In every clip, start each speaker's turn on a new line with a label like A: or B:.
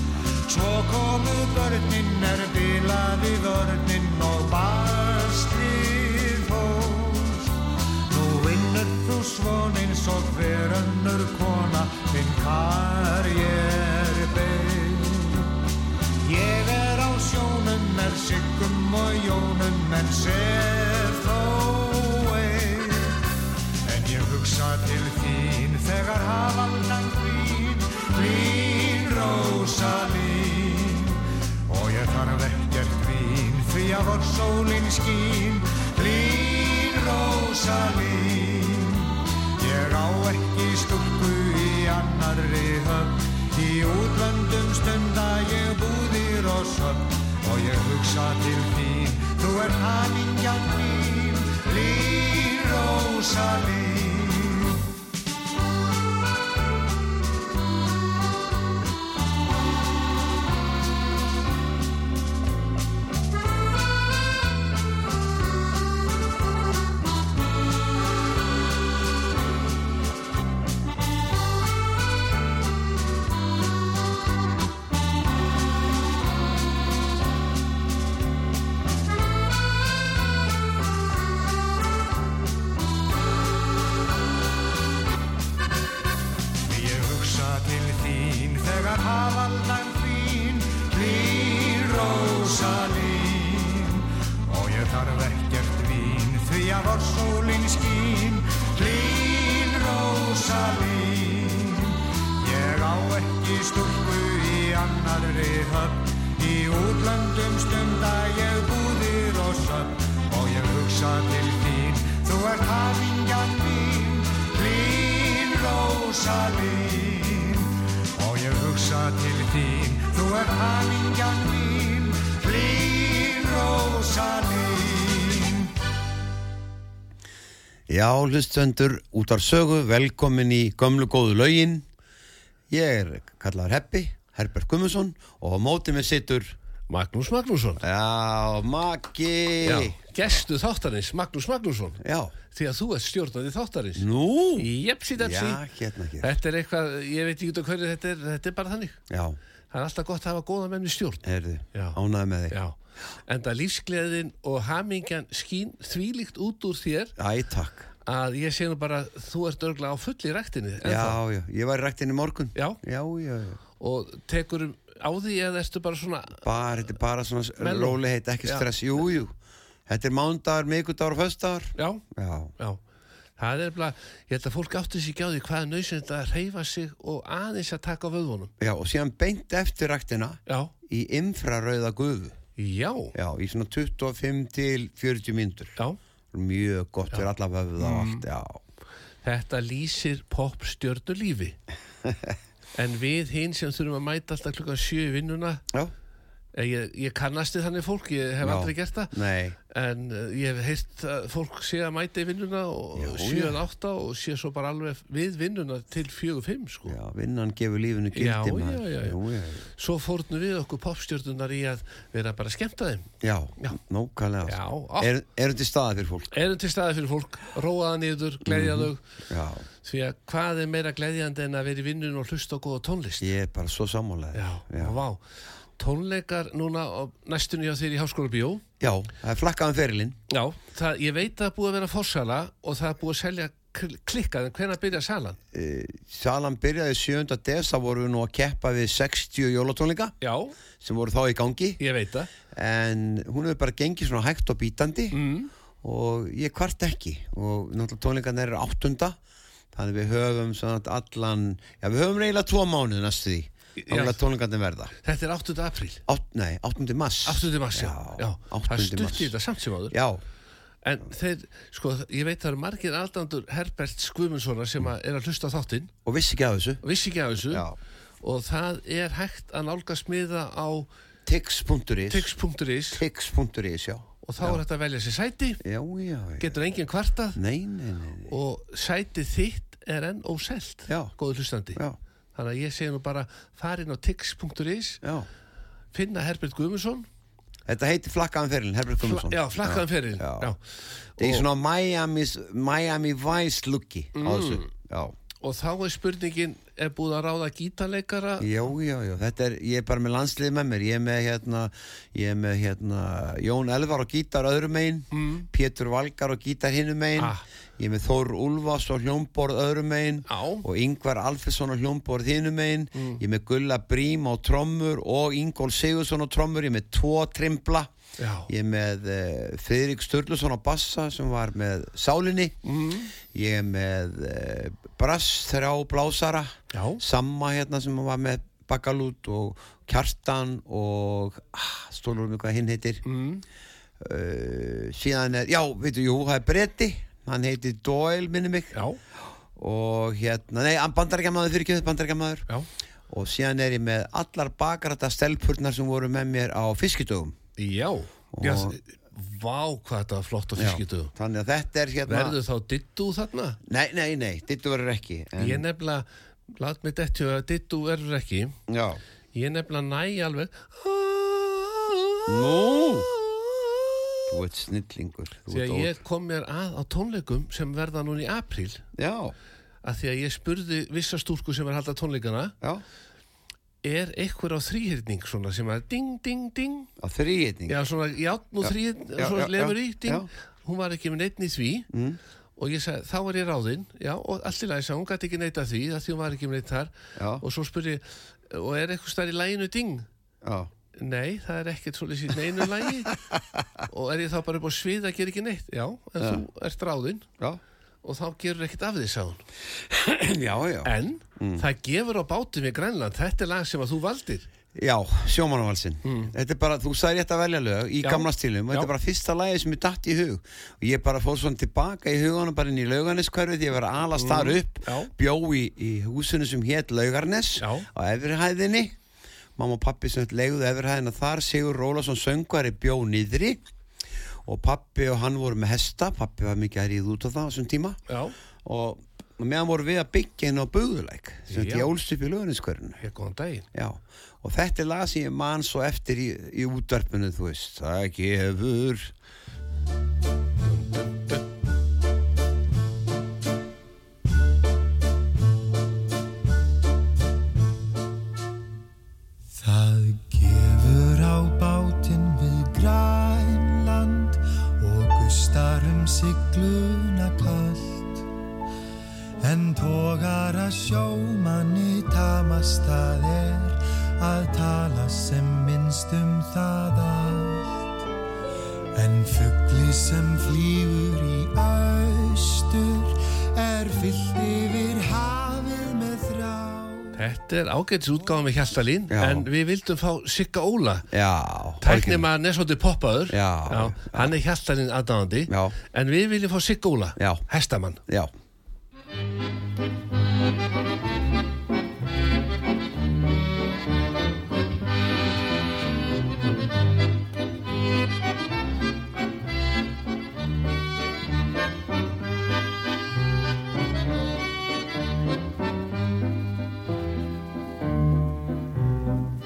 A: Svo komu börnin er bilaði vörnin og baslið fóst. Nú vinnur þú svon eins og hver önnur kona þinn karjerbeig. Ég er á sjónum, er siggum og jónum, en sef þó ein. En ég hugsa til þín þegar hafaldan þín, þín rósa mín. Og ég þarf ekkert vín, því að vor sólin skín, þín rósa mín. Ég á ekki stúlku í annarri höfn Í útlöndum stunda ég búðir og söfn Og ég hugsa til þín, þú er hamingjan mín Lín Rósalín Ég hugsa til þín þegar hafaldan þín Þín Rósalín Og ég þarf ekkert vín því að vor sólin skín Þín Rósalín Ég á ekki stúlku í annarri höfn Í útlöndum stunda ég búðir og söfn Og ég hugsa til þín, þú ert hafingjan mín Þín Rósalín Og ég hugsa til þín, þú ert hafingjan mín Þín Rósalín
B: Já, hlustendur, út af sögu, velkomin í gömlu góðu laugin. Ég er kallaður Heppi, Herbert Gummusson og á móti með sittur,
C: Magnús Magnússon
B: já, Maggi.
C: Já, gestu þáttarins, Magnús Magnússon
B: Já.
C: Því að þú ert stjórnandi þáttarins
B: Nú?
C: Jepsi depsi
B: Já, hérna ekki.
C: Þetta er eitthvað, ég veit ekki út af hverju þetta er, þetta er bara þannig
B: Já,
C: Það er alltaf gott að hafa góða menn við stjórn
B: heyrðu,
C: Já.
B: ánæði með þig.
C: Já, enda lífsgleðin og hamingjan skín þvílíkt út úr þér
B: Æ, takk.
C: að ég sé nú bara að þú ert örgla á fulli ræktinni
B: Já, já, ég var í ræktinni í morgun.
C: Já.
B: Já, já, já.
C: og tekur á því eða ertu bara svona
B: Bara, þetta er bara svona
C: Mellow.
B: róliheit, ekki
C: Já.
B: stress. Jú, jú. Þetta er mándagar, mikudagar og föstudagar.
C: Já,
B: Já,
C: já Það er bara, ég held að fólk átti sig ekki á því hvað er nöðsynnt að reyfa sig og aðeins að taka á vöðvunum
B: já, og síðan beint eftir ræktina
C: Já,
B: í infrarauða gufu.
C: já,
B: Já, í svona 25 til 40 mínútur.
C: já Mm.
B: Mjög gott fyrir alla vöfuð og allt, já.
C: Þetta lýsir popstjörnu lífi En við hinn sem þurfum að mæta alltaf klukkan sjö í vinnuna
B: Já,
C: eh, ég, ég kannast þið þannig fólk, ég hef
B: Já.
C: aldrei gert það
B: nei,
C: En eh, ég hef heyrt að fólk sé að mæta í vinnuna og
B: Já, já.
C: sjö en átta og sé svo bara alveg við vinnuna til fjögur fimm sko
B: já, vinnan gefur lífinu
C: Já, já,
B: gildi maður.
C: já, já.
B: Jú, já.
C: svo fórnum við okkur popstjörnunar í að vera bara að skemmta þeim
B: Já,
C: Já.
B: nókvælega
C: Já, ah. á.
B: sko. er, Eru til staða fyrir fólk
C: erum til staði fyrir fólk, róaða niður,
B: Mhm.
C: gleðja þau
B: Já,
C: því að hvað er meira gleðjandi en að vera í vinnun og hlusta á góða tónlist
B: ég er bara svo sammálaði
C: já,
B: já.
C: vá tónleikar núna á næstunni á þeir í Háskóla Bíó
B: já það er um flakkaðan ferilinn
C: já, það, ég veit að það er búið að vera fórsala og það er búið að selja kl- klikkað en hvenær byrja salan?
B: Eh, Salan byrjaði 7. des þá vorum við nú að keppa við 60 jólatónleika
C: Já,
B: sem voru þá í gangi
C: ég veit það
B: en hún hefur bara gengið svona hægt og bítandi
C: Mm.
B: og ég kvart ekki og náttúrulega tónleikarnir eru áttunda þannig við höfum svona allan já við höfum reyla tvo mánuð næstu því
C: Já.
B: þannig að tónleikarnir verða
C: Þetta er 8. apríl,
B: Átt, nei, 8. mass
C: 8. mars, já, já, það
B: 8.
C: stutti
B: mars
C: þetta samt sem áður
B: já,
C: En þeir, sko, ég veit það eru margir aldandur Herbert Skvumunssona sem að er að hlusta á þáttinn
B: og vissi ekki af þessu
C: og vissi ekki af þessu
B: Já.
C: og það er hægt að nálgast miða á
B: tix.is
C: tix.is
B: tix.is, já
C: og þá er hægt að velja sér sæti
B: já, já, já.
C: getur enginn kvartað
B: Nei, nei, nei, nei
C: og sæti þitt er enn óselt
B: Já.
C: góður hlustandi
B: já,
C: þannig að ég segi nú bara farin á tix.is
B: já
C: finna Herbert Guðmundsson
B: Þetta heitir Flakkaðan ferilinn, Herbert Gummarsson
C: já, flakkaðan fyrir
B: Já.
C: Já.
B: Það er
C: Og- Mm.
B: svona Miami, Miami Vice looki á þessu. Já,
C: og þá er spurningin er búið að ráða gítarleikara
B: já, já, já, þetta er, ég er bara með landslið með mér, ég er með hérna, ég er með hérna Jón Elvar og gítar öðrum megin, Pétur Valgar og gítar hinnum megin,
C: Mm. Ah.
B: ég er með Þór Úlfas og hljómborð öðrum megin
C: Já.
B: og Yngvar Alfesson og hljómborð hinnum megin,
C: Mm.
B: ég er með Gulla Brím á trommur og Ingól Sigursson á trommur, ég er með tvo trimbla.
C: Já.
B: Ég er með uh, Friðrik Sturluson á bassa sem var með Sálinni Ég er með uh, Brass þrjá blásara
C: Já.
B: Samma hérna sem var með Bakalút og Kjartan og ah, stólur um hvað hinn heitir mm. Síðan er, já, veitu, jú, það er Breti Hann heitir Doyle, minni mig
C: já,
B: Og hérna, nei, hann bandarækjamaður fyrir ekki bandarækjamaður
C: já,
B: Og síðan er ég með allar bakarata stelpurnar sem voru með mér á fiskidögum
C: já, já. vá hvað þetta var flott á fiskitöðu
B: Þannig að þetta er hérna
C: verður þá dittu þarna?
B: Nei, nei, nei, dittu verður ekki en,
C: Ég nefnilega, lát mig dettu að dittu verður ekki
B: Já
C: Ég nefnilega næ alveg
B: Nú Þú ert snillingur þú
C: Því
B: ert
C: að
B: óð-
C: ég kom mér að á tónleikum sem verða núna í apríl
B: Já,
C: að því að ég spurði vissa stúrku sem er að halda tónleikana
B: já
C: er einhver á þrýhyrning svona sem að ding, ding, ding
B: Á þrýetning
C: Já, svona játn og þrýhyrning
B: já,
C: svona
B: já,
C: lefur
B: já,
C: í, ding
B: já.
C: Hún var ekki með neittn í því mm. og ég sagði, þá var ég ráðinn já, og allt í lagi, sagði, hún gæti ekki neitt að því að því hún var ekki með neitt þar
B: Já.
C: og svo spurði, ég, og er eitthvað stær í læginu ding?
B: já.
C: Nei, það er ekkert svolítið í neinu lagi og er ég þá bara upp á svið að gera ekki neitt? Já, en þú ert ráðinn
B: já
C: og þá gerur ekkert af því, sagði hún.
B: Já, já
C: En
B: Mm.
C: það gefur á bátum í Grænland, þetta er lag sem að þú valdir. Hmm.
B: Já, sjómanaválsinn Þetta er bara, þú sagði rétt að velja lög í
C: Já.
B: gamla stílum og
C: Já.
B: Þetta er bara fyrsta lagi sem ég datt í hug og ég bara fór svona tilbaka í huganum bara inn í laugarneskverfið, ég var að alast þar upp
C: Hmm. Já.
B: bjó í, í húsinu sem hétt laugarnes
C: Já.
B: á efrihæðinni Mamma og pappi sem leguðu efrihæðina þar Sigur Rólasson söngvari bjó niðri og pappi og hann voru með hesta pappi var mikið að ríða út á það á þessum tíma
C: Já,
B: og meðan voru við að byggja inn á bugðuleik sem þetta
C: Já.
B: ég ólst upp í laugarneskverfinu
C: ég góðan daginn.
B: Já, og þetta er lag sem ég man svo eftir í, í útvarpinu, þú veist, það gefur.
A: Það gefur á bátinn við grænland og gustar um sigluna kallt. En tógar að sjómanni tamast það er að tala sem minnst um það allt. En fugli sem flýgur í austur er fyllt yfir hafið með þrá.
C: Þetta er ágætis útgáfa með Hjaltalín,
B: Já.
C: en við vildum fá Sigga Óla.
B: Já,
C: Tæknir
B: orginal.
C: maður nesóti poppaður,
B: Já.
C: hann er Hjaltalín aðdáðandi,
B: Já.
C: en við viljum fá Sigga Óla,
B: Já.
C: hestamann.
B: Já,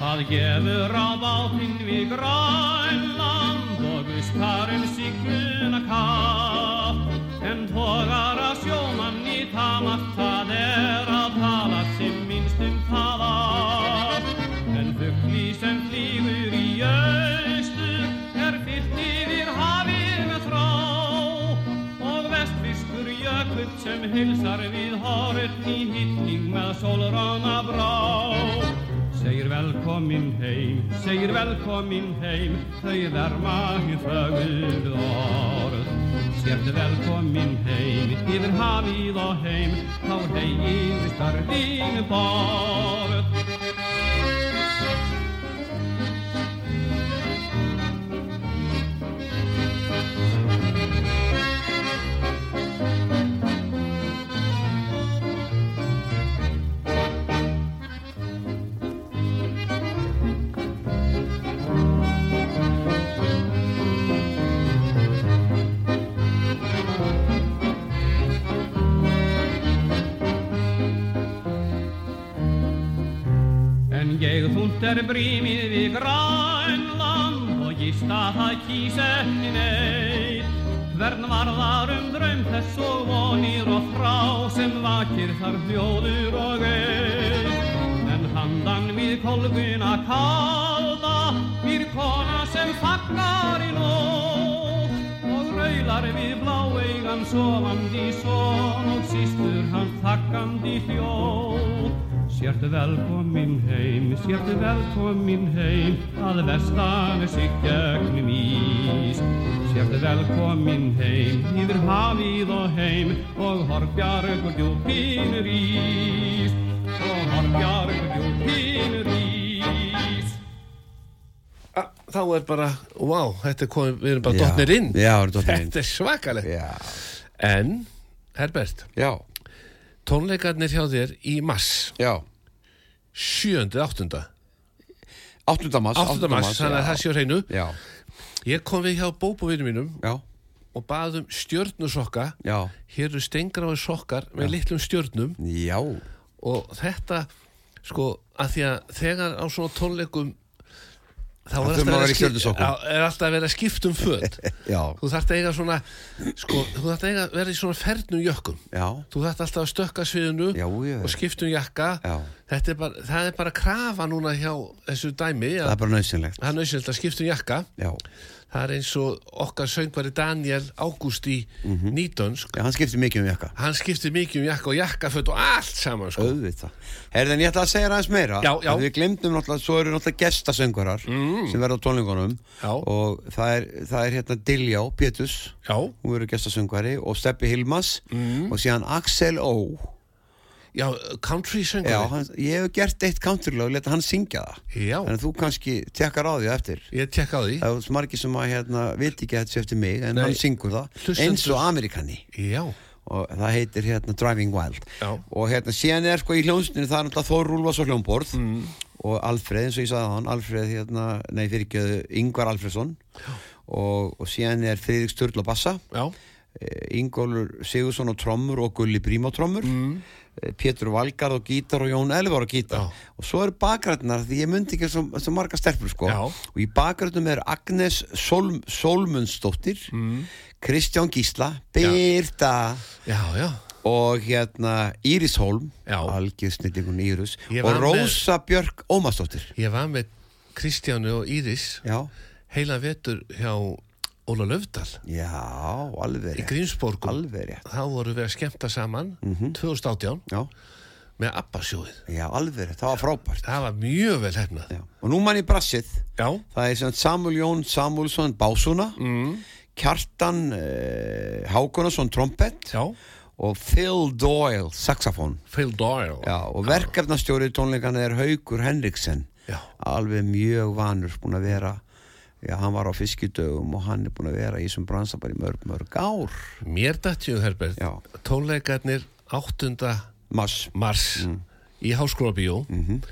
D: Það Það gefur á bátinn við Grænland og gustarinn sigluna kapp en tógar að sjómann í tamat það er að tala sem minnst um það að en fugli sem flýgur í austur er fyllt yfir hafið með frá og vestfiskur jökull sem hilsar við horfn í hittning með sólrána brá. Segir velkomin heim, segir velkomin heim, þau verma í fögur orð. Sérðu velkomin heim, yfir hafið og heim, þá heim starfið borð. En ég þúnt er brímið við Grænland og gista það kýs ekki neitt. Hvern varðar um draum þess og vonir og frá sem vakir þar hljóður og eitt. En handan við kolguna kalda, við kona sem fagnar í nótt og raular við bláeigan sofandi són og sístur hans takkandi hljóð. Sértu velkomin heim, sértu velkomin heim, að vestan er sig gegnum ís. Sértu velkomin heim, yfir hafið og heim, og horfjargur djúpin rís. Og horfjargur djúpin rís.
C: A- Þá er bara, wow, þetta er komið, við erum bara
B: Já.
C: dotnir inn
B: Já, við erum dottnir inn.
C: Þetta er svakalegt
B: Já,
C: En, Herbert,
B: já,
C: tónleikarnir hjá þér í mass
B: já
C: 7. 8.
B: 8. mars
C: 8. mars, þannig að það séu hreinu
B: Já,
C: Ég kom við hjá bóbúvinum mínum
B: já,
C: og baðum stjörnusokka
B: já
C: Hér eru stengráði sokkar með litlum stjörnum
B: Já,
C: og þetta, sko, að því að þegar á svona tónleikum þá er
B: þurfum
C: alltaf, verið
B: að vera í
C: að skip-
B: stjörnusokkum.
C: Já, er alltaf að vera að skipta um föt
B: já,
C: þú þarft að eiga svona sko, þú þarft að eiga, vera í svona fernum jökkum
B: já
C: þú þarft alltaf að stökka sviðinu
B: Já, já.
C: og skiptum jakka
B: Já.
C: Þetta er bara, það er bara krafa núna hjá þessu dæmi
B: Það er
C: að
B: bara nöðsynlegt
C: það er nöðsynlegt að skiptum jakka
B: Já,
C: það er eins og okkar söngvari Daniel Ágúst í
B: Mhm.
C: Nýdönsk
B: já, hann skiptir mikið um jakka
C: hann skipti mikið um jakka og jakkaföt og allt saman sko.
B: auðvitað. Herði, en ég ætla að segja þér aðeins meira
C: Já, já.
B: Af því Við glemdum náttúrulega, svo eru náttúrulega gestasöngurar mm. sem verða á tónlingunum
C: Já.
B: og það er, það er hérna Diljá Pétus
C: Já, Mm.
B: hún verður gestasöngvari og Steppi Hilmas og síðan Axel Ó
C: já, country söngvari
B: Já, hann, ég hef gert eitt countrylag og leta hann syngja það
C: Já.
B: en þú kannski tekkar á því á eftir
C: Ég tekka á því
B: það er margir sem að hérna, viti ekki að þetta sé eftir mig en
C: Nei.
B: hann syngur það
C: Hlustendur.
B: eins og Amerikani
C: Já,
B: og það heitir hérna Driving Wild
C: Já.
B: og hérna síðan er sko í hljónstinu það er náttúrulega Þór Úlfars og hljómborð og Alfreð eins og ég sagði hann Alfreð hérna, nei fyrir Ingvar Alfreðsson og, og síðan er Friðrik Sturla Bassa
C: já,
B: eh, Ingólfur Sigursson á trommur og Gulli Brím á trommur
C: Mm.
B: eh, Pétur Valgarð á gítar og Jón Elvar á gítar
C: Já.
B: og svo eru bakgrætnar því ég myndi ekki svo, svo marga stelpur sko
C: Já.
B: og í bakgrætnum er Agnes Solm, Solmundsdóttir Kristján Gísla Birta
C: Mm. já, já
B: og hérna Íris Holm
C: Já.
B: algjör snillingun Íris
C: Ég
B: og
C: var með-
B: Rósa Björk Ómarsdóttir
C: Ég var með Kristjánu og Íris
B: já,
C: heila vetur hjá Óla Löfdal
B: já,
C: í
B: alveg rétt
C: Grímsborgum
B: alveg rétt, Mhm.
C: þá voru við að skemmta saman 2018
B: já,
C: með Abbasjóið
B: já, alveg rétt það var frábært
C: það var mjög vel hefnað
B: já. og nú mann í brassið
C: já,
B: það er sem sagt Samuel Jón Samuelsson Básuna mm. Kjartan uh, Hákonarsson trompett
C: já,
B: og Phil Doyle saxofón
C: Phil Doyle
B: já, og verkefnastjórið tónleikana er Haukur Henriksen
C: Já.
B: alveg mjög vanur búin að vera já, hann var á fiskidögum og hann er búin að vera í þessum bransa bara í mörg, mörg ár
C: mér dætti ég Herbert
B: Já.
C: tónleikarnir 8.
B: Mass,
C: mars
B: Mm.
C: í Háskólabíó
B: Mhm.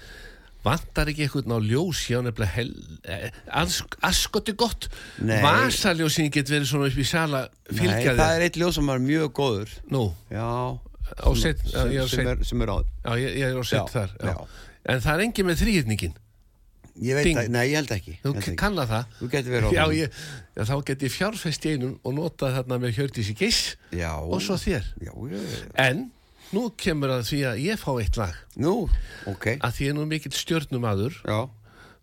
C: vantar ekki eitthvað ná ljós hjá nefnilega hel, eh, ask, askoti gott
B: Nei.
C: vasaljósin get verið svona upp í sala
B: nei,
C: fylgja
B: það
C: þér
B: er eitt ljóð sem er mjög góður
C: nú,
B: já,
C: á set,
B: sem,
C: ég, á
B: sem,
C: set,
B: er, sem er á
C: já, ég, ég er á set
B: Já,
C: þar já.
B: já.
C: en það er engin með þrýðningin
B: Ég veit
C: Ding.
B: það, nei, ég held ekki
C: Þú
B: held ekki.
C: kanna það.
B: Þú getur verið
C: Já,
B: áfram.
C: ég, já, þá get ég fjárfest í einum og nota þarna með Hjördísi Giss
B: Já.
C: og svo þér.
B: Já, já, já.
C: En nú kemur að því að ég fá eitt lag.
B: Nú, ok
C: Að því ég er nú mikill stjörnumadur,
B: Já,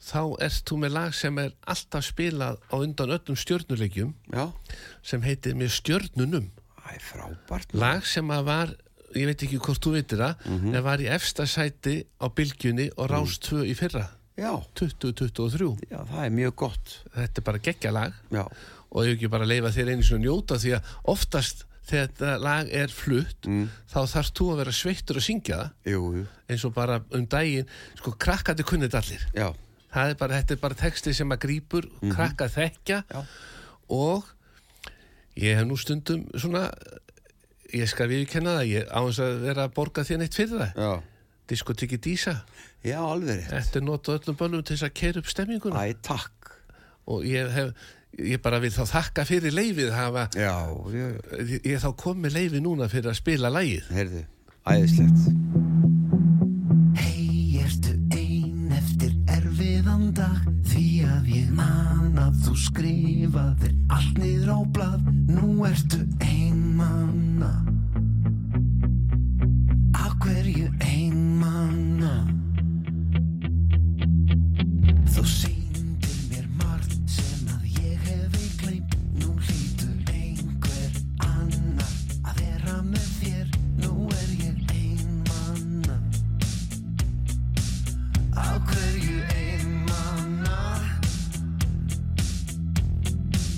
C: þá ert þú með lag sem er alltaf spilað á undan öllum stjörnuleikjum
B: já
C: sem heitir með stjörnunum.
B: Það er frábært
C: Lag sem að var, ég veit ekki hvort þú veitir það,
B: Mhm.
C: en var í efsta sæti á bylgjunni og rást tvö í fyrra,
B: Mm. Já,
C: 2023.
B: já, það er mjög gott
C: Þetta er bara geggja lag.
B: Já,
C: og ég ekki bara leifa þér einu svona njóta því að oftast þegar þetta lag er flutt
B: Mm.
C: þá þarfst þú að vera sveittur að syngja það
B: jú, jú
C: eins og bara um daginn sko krakkandi kunnið þetta allir
B: Já,
C: það er bara, þetta er bara texti sem að grípur krakka þekkja
B: Mhm. Já.
C: og ég hef nú stundum svona ég skal viðkenna það, ég á þess að vera að borga þér neitt fyrir það,
B: já
C: diskotiki dísa
B: Já, alveg rétt
C: þetta er notað öllum bönnum til þess að keira upp stemminguna
B: Æ, takk
C: og ég hef, ég bara vil þá þakka fyrir leifið að hafa
B: Já, já, já
C: ég, ég þá kom með leifi núna fyrir að spila lægið
B: Heyrðu, æðislegt
E: Hei, ertu ein eftir erfiðan dag Því að ég man að þú skrifaðir allt niður á blað Nú ertu ein manna Á hverju ein manna Þú sýndir mér margt sem að ég hefi gleymt Nú hlýtur einhver annar að vera með þér Nú er ég ein manna Á hverju einmanna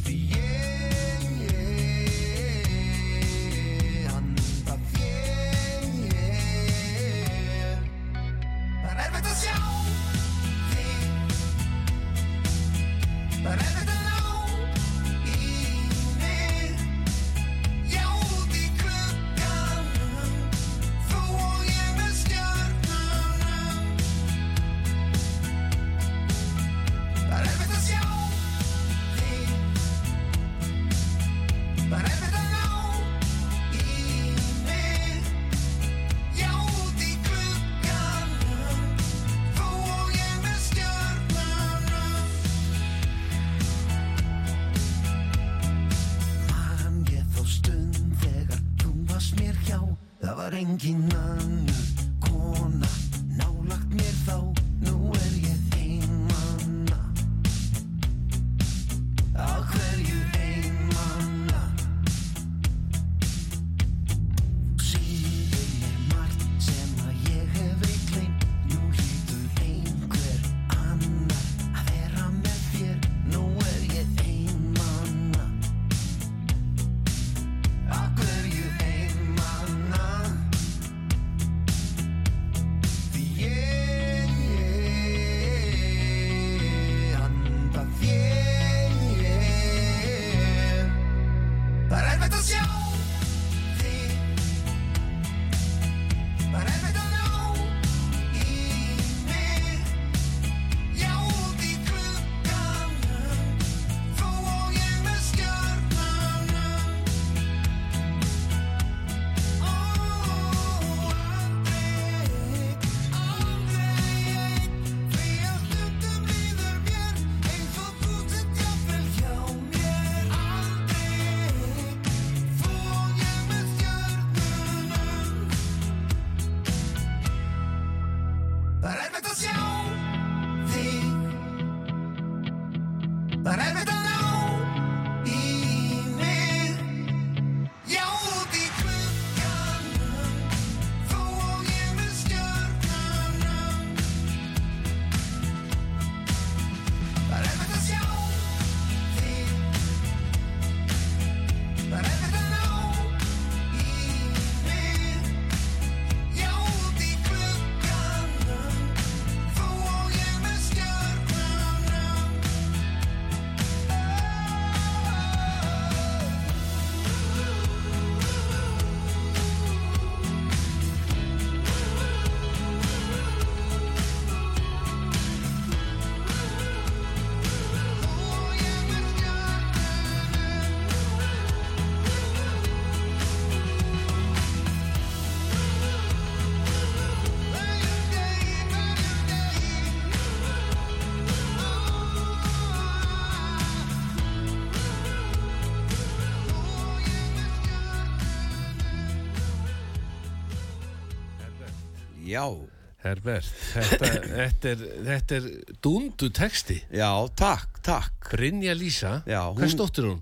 E: Því ég, ég Anda þér, ég Það er erfitt að sjá þig Það er erfitt að ná í mig Já, út í glugganum Þú og ég með stjörnunum Það er erfitt að sjá þig Það er erfitt að ná í mig Já, út í glugganum Þú og ég með stjörnunum Man ég þá stund þegar þú varst mér hjá Það var engin annur kona Nálagt mér þá, nú er ég einmanna Á hverju einmanna Sýnir mér margt sem að ég hef ei gleymt Nú hlýtur einhver annar að vera með þér Nú er ég einmanna Á hverju einmanna
F: Oh,
B: já,
C: Herbert, þetta, þetta, er, þetta er dundu texti
B: já, takk, takk
C: Brynja Lísa,
B: Já, hún-
C: hvers dóttir hún?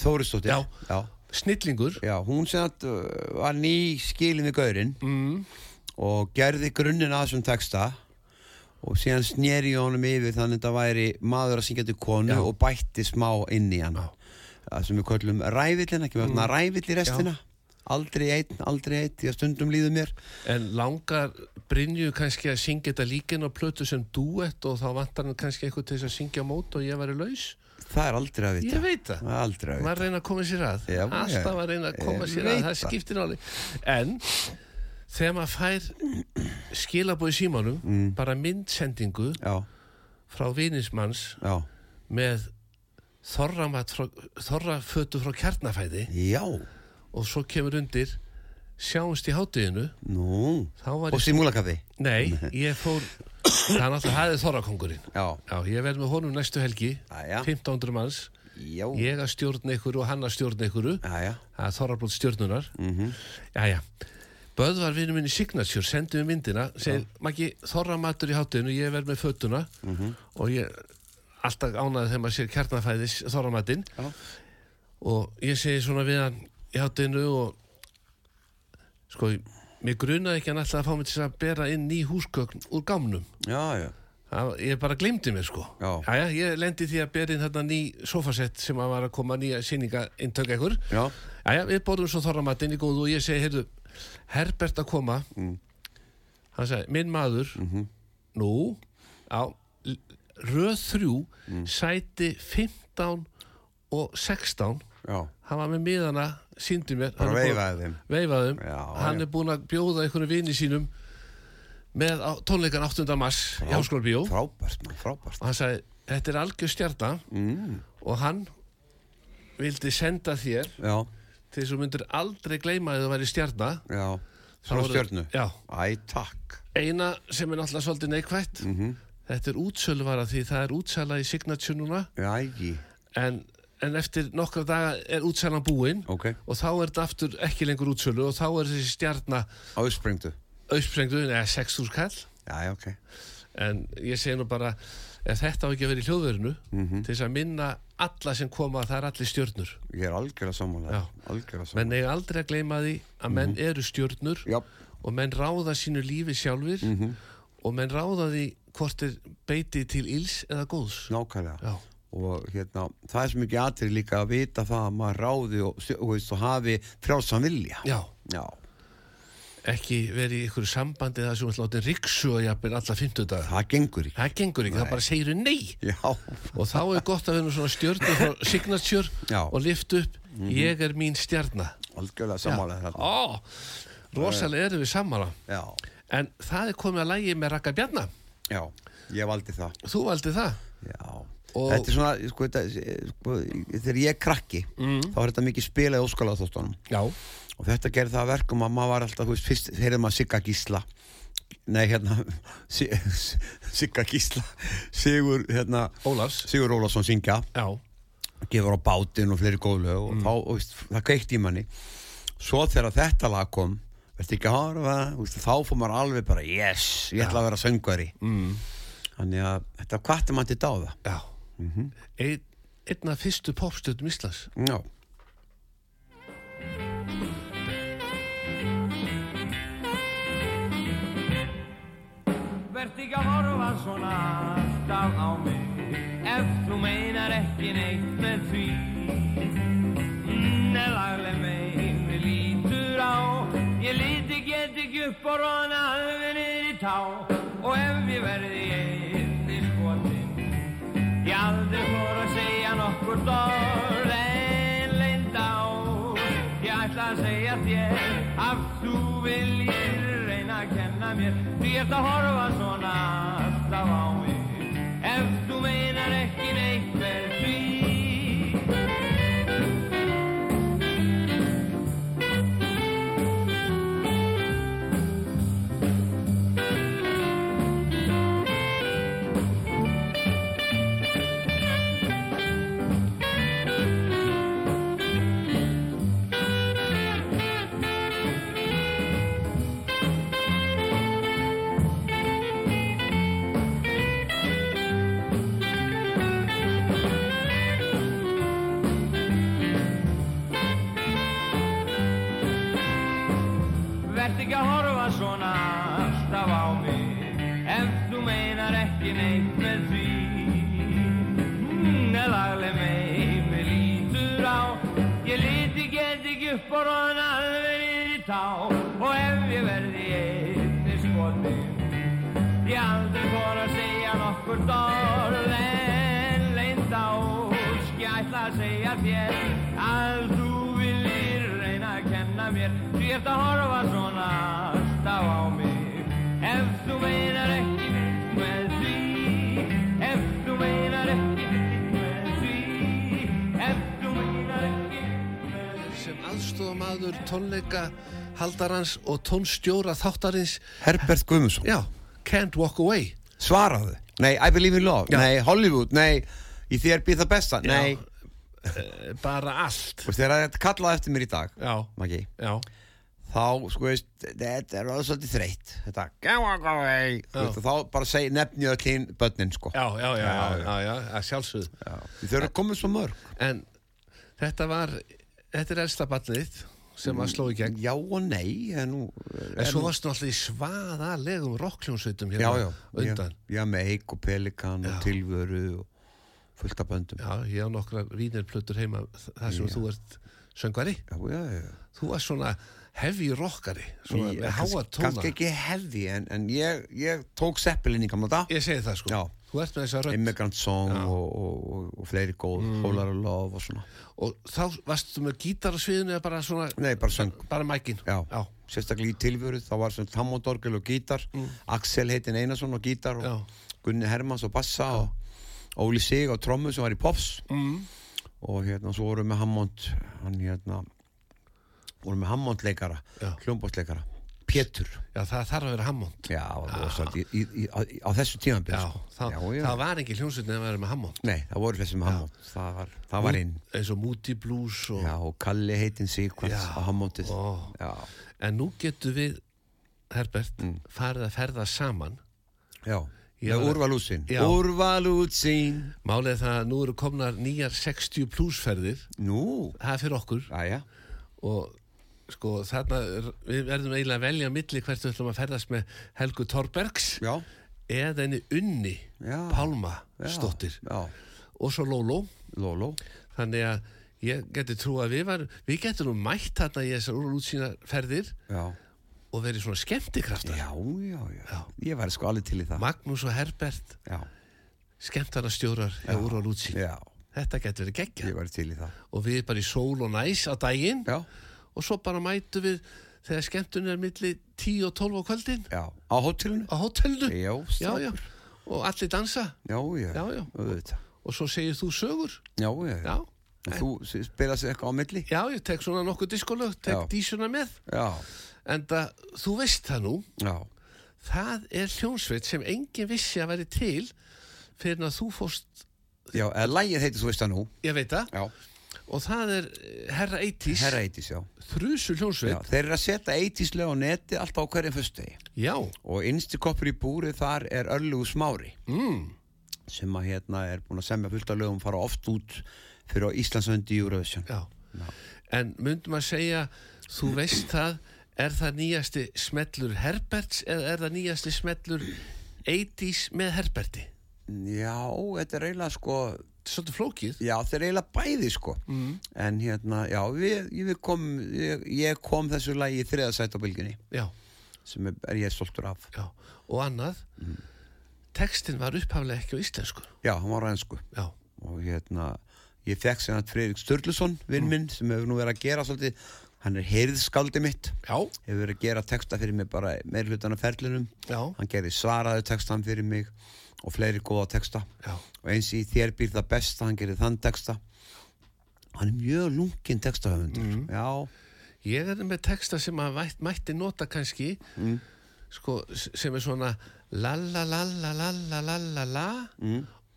B: Þóristóttir
C: Já.
B: já,
C: Snillingur
B: já, hún sem sagt, uh, var ný skilin við gaurinn mm. og gerði grunninn að þessum texta og síðan sneri ég honum yfir þannig að þetta væri maður að syngja til konu og bætti smá inn í hann það sem við köllum rævillin ekki með mm. rævill í restina aldrei einn, aldrei einn, því að stundum líður mér
C: En langar Brynju kannski að syngja þetta líkin á plötu sem duett og þá vantar hann kannski eitthvað til þess að syngja á mót og ég væri laus
B: það er aldrei að vita
C: Ég veit það.
B: er aldrei að
C: maður
B: vita
C: reyna að koma sér að
B: Já,
C: alltaf
B: ég-
C: að reyna að
B: ég
C: koma sér
B: veit
C: að það
B: það.
C: skiptir náli en þegar maður fær skilabóð í símanum bara myndsendingu
B: Mm. já,
C: frá vinismanns
B: já,
C: með þorramat frá, þorrafötu frá kjarnafæði
B: já,
C: og svo kemur undir sjáumst í hátíðinu
B: nú
C: þá var ég,
B: og
C: sko-
B: simúlakafi
C: nei, ég fór það er náttúrulega hæði þorrakongurinn
B: já,
C: já, ég verð með honum næstu helgi
B: Jæja.
C: 1500 manns,
B: já,
C: ég að stjórna ykkur og hann að stjórna ykkur
B: já, já
C: það er Þorrablót stjórnunar mm
B: Mhm.
C: -hmm. Jæja Böðvar vinnu minni Signature sendi mér myndina segir, Maggi, Þorra matur í hátinu ég verð með fötuna og ég alltaf ánaði þegar maður sér kjarnafæðis Þorra matinn
B: Já.
C: og ég segi svona við hann í hátinu og sko, mér grunaði ekki að hann alltaf að fá mig til að bera inn ný húsgögn úr gámnum
B: Já, já,
C: Það, ég bara glemdi mér sko
B: Já.
C: Jæja, ég lendi því að bera inn þarna ný sofasett sem að var að koma nýja sinninga intöka ykkur
B: já,
C: Jæja, við borðum svo þorramatinn í góðu og ég segi, heyrðu, Herbert að koma,
B: Mm.
C: hann sagði, minn maður,
B: Mhm.
C: nú, á l- röð þrjú,
B: Mm.
C: sæti 15 og 16,
B: já,
C: hann var með miðana, síndi mér,
B: bara
C: hann er búinn-
B: veifaði þeim
C: veifaðum,
B: Já,
C: hann
B: já.
C: er búin að bjóða einhvern vini sínum með á, tónleikan 8. mars í Háskólabíó
B: Frábært, mann, frábært
C: og hann sagði, þetta er algjör stjarta
E: Mm.
C: og hann vildi senda þér
B: Já,
C: til þess að þú myndir aldrei gleyma að þú væri stjarna
B: já,
C: Þá
B: svona
C: voru-
B: stjörnu
C: Já,
B: Æ, Mhm. takk
C: eina sem er náttúrulega svolítið neikvætt Þetta er útsöluvara því það er útsala í Signature núna
B: Æ,
C: en, en eftir nokkra daga er útsalan búin
B: ok,
C: og þá er þetta aftur ekki lengur útsölu og þá er þessi stjarna
B: áspringdu
C: auðsprengdu eða 6.000 kall
B: Já, já, ok
C: en ég segi nú bara ef þetta á ekki að vera í hljóðverinu
B: Mhm.
C: til þess að minna alla sem koma að það er allir stjörnur
B: Ég er algjörlega sammála
C: Já.
B: þér, Algjörlega
C: menn
B: sammála
C: eiga aldrei að gleyma því að menn eru stjörnur
B: Mhm. Já, Mhm.
C: og menn ráða sínu lífi sjálfur og menn ráða því hvort er beitið til ills eða góðs
B: nákvæmlega
C: Já.
B: Og hérna, það er svo mikið atrið líka að vita það að maður ráði og, stjö- og, veist, og hafi frjálsan vilja
C: Já,
B: já,
C: ekki verið í ykkur sambandi það sem ætla látið riksu og jafnir alla 50 daga
B: það gengur ekki
C: það gengur ekki, það bara segir nei
B: Já,
C: og þá er gott að vera með svona stjörnu frá signature
B: Já. Mhm.
C: og lift upp ég er mín stjarna
B: algjörlega sammála þér þarna.
C: Ó, rosalega erum við sammála
B: Já,
C: en það er komið að lægi með Raka Bjarna
B: já, ég valdi það
C: þú valdi það
B: Já,
C: Og-
B: þetta er svona, sko, þetta, sko, þegar ég er krakki, þá er þetta mikið spilað í óskalaþóttunum
C: Já,
B: og þetta gerði það að verkum að maður var alltaf, þú veist, fyrst heyrði maður Sigga Gísla, nei, hérna, Si- Sigga Gísla, Sigur, hérna,
C: Ólafs
B: Sigur Ólafsson syngja,
C: Já, Mm.
B: gefur á bátinn og fleiri góðlög og þá, þú veist, það kveikt í manni. Svo þegar þetta lag kom, veist ekki að horfa, þú veist, þá fór maður alveg bara, yes, ég ætla að vera söngvari.
C: mm.
B: Þannig að þetta kvartum hann til dáða. Mhm.
C: Já. Ein, Einn af fyrstu popstöðum Íslands
B: Já.
D: Vert ekki að horfa svona alltaf á mig Ef þú meinar ekki neitt með því Nei, lagleg mein við lítur á Ég líti get ekki upp og rona alveg niður í tá Og ef ég verði ég eftir skotin Ég aldrei fór að segja nokkur orð En leind á Ég ætla að segja þér Að þú viljir reyna að kenna mér Því ert að horfa svona alltaf á mig Ef þú meinar ekki neitt með því
G: Mm, upp og roðna verið í tá og ef ég verði einni skoti ég aldrei fór að segja nokkur dorð en leint á ósk ég ætla að segja þér að þú viljir reyna að kenna mér því ert að horfa svona alltaf á mig ef þú meinar ekki neitt með því ef þú meinar ekki neitt með því ef þú meinar ekki neitt með því
C: sem aðstofamadur tónleika haldarans og tónstjóra þáttarins
B: Herbert Guðmundsson
C: já, Can't Walk Away
B: svaraðu nei, I believe in love,
C: Já.
B: nei, Hollywood, nei í þér býð það besta, nei
C: Eh, bara allt
B: og þegar þetta kallaði eftir mér í dag
C: já,
B: Maggi,
C: já,
B: þá sko veist, þetta er alveg svolítið þreytt þetta, "Go away", þú veist, og þá bara segi nefni öll hinn börnin sko
C: já, já, já, já, já, já að sjálfsögð
B: þau eru komið svo mörg
C: en þetta var, þetta er elsta ballið sem að sló í gegn
B: já og nei en nú,
C: en svo varstu náttúrulega í svaðalegum rockljónsveitum
B: já,
C: hérna
B: já,
C: undan
B: já, já með eik og pelikan og tilvöru og fullt af böndum já,
C: já, ég á nokkrar vínirplötur heima þ- þar sem þú ert söngvari
B: já, já,
C: þú varst svona heavy rockari svona
B: Ég-
C: með háa
B: kannski-
C: tóna
B: kannski ekki hefði en, en ég, ég tók seppilinn í gamla dag
C: ég segi það sko,
B: Já.
C: þú ert með þessa rödd
B: Immigrant Song og, og, og, og fleiri góð mm. Hólar og Love og svona
C: og þá varst þú með gítar á sviðinu eða bara svona,
B: Nei, bara söng
C: bara mækin
B: Já. sérstaklega í tilvöru þá var sem Tammondorgel og gítar Axel heitin Einarsson og gítar og
C: Mm. Já.
B: Gunni Hermans og bassa og Óli Sig og trommu sem var í Pops mm. og hérna svo vorum við með Hammond hann hérna vorum með Hammond leikara,
C: Já.
B: hljómbótsleikara Pétur,
C: Já, það þarf að vera Hammond Ah.
B: já, það var svolítið í, í, í, á, á þessu tímanbyrð
C: Já, það,
B: já, já.
C: það var engin hljómsveitin að vera með Hammond
B: Nei, það voru þessi með Hammond það var, það var inn
C: eins og Moody Blues og,
B: Já, og Kalli heitin Sigvart
C: Já.
B: á Hammondið
C: Ó.
B: Já, Mm.
C: en nú getum við Herbert, farið að ferða saman
B: já,
C: Já.
B: með Úrvalúsin
C: Já.
B: Úrvalúsin
C: málið er það að nú eru komnar nýjar 60 plusferðir
B: Nú,
C: það er fyrir okkur
B: aðja,
C: og sko þarna er- við verðum eiginlega að velja á milli hvert við ætlum að ferðast með Helgu Torbergs
B: já,
C: eða henni Unni
B: Já.
C: Pálma
B: já
C: stóttir
B: Já,
C: og svo Lóló
B: Lóló
C: þannig að ég geti trú að við varum við getum nú mætt þarna í þessar úrútsýna ferðir
B: Já,
C: og verið svona skemmtikraftar
B: já, já, já Ég væri sko alveg til í það
C: Magnús og Herbert
B: Já,
C: skemmtarnastjórar hjá Úrval útsýn
B: já,
C: þetta getur verið geggja
B: ég væri til í það
C: og við bara í sól og næs á daginn
B: Já,
C: og svo bara mætum við þegar skemmtun er milli 10 og 12 á kvöldin
B: já, á hótelinu
C: á hótelnu
B: Já,
C: já,
B: strákur.
C: já, og allir dansa
B: já, já,
C: Já, já.
B: auðvitað.
C: og svo segir þú sögur
B: já, já, já.
C: já,
B: En Þú spilast eitthvað á milli
C: já ég tek svona nokkuð diskolög tek
B: Já.
C: dísuna með
B: Já,
C: en það, þú veist það nú
B: já,
C: það er hljónsveit sem engin vissi að veri til fyrir að þú fórst,
B: já, eða lægið heitir þú veist það nú
C: ég veit það
B: Já,
C: og það er eh, Herra 80s
B: herra eitís, já
C: þrjusu
B: Já,
C: hljónsveit,
B: þeir eru að setja eitíslega á neti alltaf á hverjum föstudegi
C: já,
B: og innsti koppur í búrið þar er Örlugu Smári mm. sem að hérna er búin að semja fullt af lögum fara oft út fyrir á Íslandsöndi í Eurovision
C: já. en myndum að segja þú veist það, er það nýjasti smellur Herberts eða er það nýjasti smellur 80s með Herberti
B: Já, þetta er eiginlega sko
C: svolítið flókið
B: já, þetta er eiginlega bæði sko mm. en hérna, já, við, við kom, ég, ég kom þessu lagi í þriðasætt á bylginni
C: já,
B: sem er, er ég stoltur af
C: já. og annað
B: Mm.
C: textin var upphaflega ekki á íslensku
B: Já, hann var rænsku
C: já,
B: og hérna, ég fekk sem hann Fredrik Sturluson vinn
C: Mm.
B: minn sem hefur nú verið að gera svolítið, hann er heyrðskaldið mitt
C: já,
B: hefur verið að gera texta fyrir mig bara meir hlutan af ferlinum
C: já,
B: hann gerði svaraðu textan fyrir mig og fleiri góða texta
C: já.
B: og eins í þér býr það besta, hann gerði þann texta hann er mjög lungin textahöfundur
C: Mm.
B: já,
C: Ég er með texta sem að vætt, mætti nota kannski sko, s- sem er svona la la la la la la la la la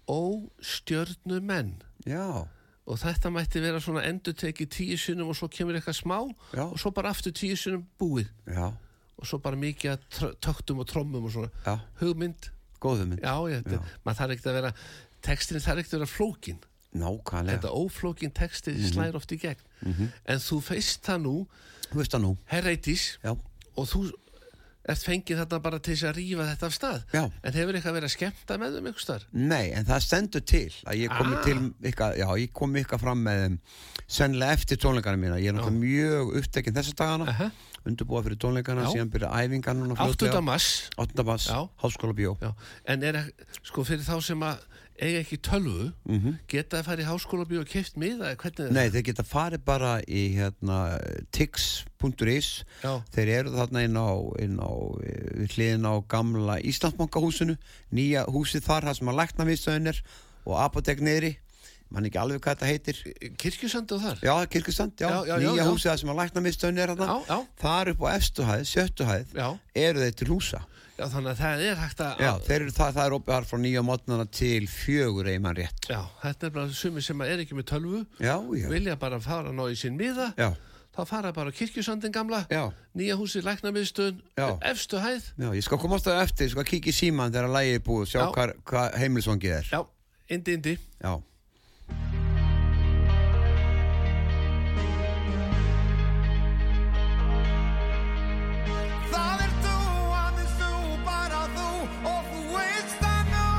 C: ó stjörnumenn
B: Mm. já,
C: og þetta mætti vera svona endur tekið tíu sinum og svo kemur eitthvað smá
B: Já.
C: og svo bara aftur tíu sinum búið
B: já,
C: og svo bara mikið að tr- töktum og trommum og svona
B: já
C: hugmynd,
B: góðu mynd,
C: já, ég, þetta, maður þarf ekkert að vera textin þarf ekkert að vera flókin
B: nákvæmlega Mhm.
C: þetta óflókin texti slær oft í gegn en þú feist það nú
B: þú veist það nú,
C: herreitis
B: já,
C: og þú ert fengið þarna bara til þess að rífa þetta af stað
B: Já.
C: en hefur eitthvað verið að skemmta með þeim ykkur starf
B: Nei, en það stendur til að ég komi
C: Ah.
B: til ykkar, já, ég komi ykkar fram með þeim sennilega eftir tónleikana mína ég er náttúrulega mjög upptekinn þessa dagana
C: Aha.
B: undirbúa fyrir tónleikana,
C: Já.
B: síðan byrja æfingar núna
C: 8. mars
B: 8. mars,
C: Já.
B: háskóla bjó
C: Já, en er ek- sko fyrir þá sem að eiga ekki tölvu, mm -hmm. geta að fara í háskólabíu og keift miða, eða hvernig er
B: Mhm. Nei, þeir geta farið bara í hérna, tix.is
C: Já.
B: þeir eru þarna inn á, inn á eh, við hliðin á gamla Íslandsbankahúsinu nýja húsið þar, það sem að lækna viðstöðunir og apotek niðri mann ekki alveg hvað þetta heitir
C: það? Kirkjusandi og þar?
B: Já, kirkustand, já,
C: Já, já, já,
B: nýja
C: já.
B: húsið það sem að lækna viðstöðunir er
C: Já,
B: þarna
C: já.
B: þar upp á efstuhæð, sjöttuhæð
C: Já. Ah.
B: eru þeir til húsa
C: Já, þannig að það er hægt að...
B: Já, þeir eru það, það er opið þar frá nýja mótnana til fjögur eiginmann rétt
C: Já, þetta er bara sumi sem að er ekki með tölvu,
B: Já, já,
C: vilja bara fara að ná í sinn miða,
B: já,
C: þá fara bara á kirkjusandin gamla,
B: já.
C: nýja húsi, læknamiðstöðun,
B: Já.
C: efstu hæð.
B: Já, ég skal komast það eftir, ég skal kíkja í síman þegar að lægi er búið og sjá
C: Já.
B: hvað, hvað heimilsvangið er.
C: Já, indi, indi.
B: Já.
A: Það er þú, aðeins þú, bara þú og þú veist það nú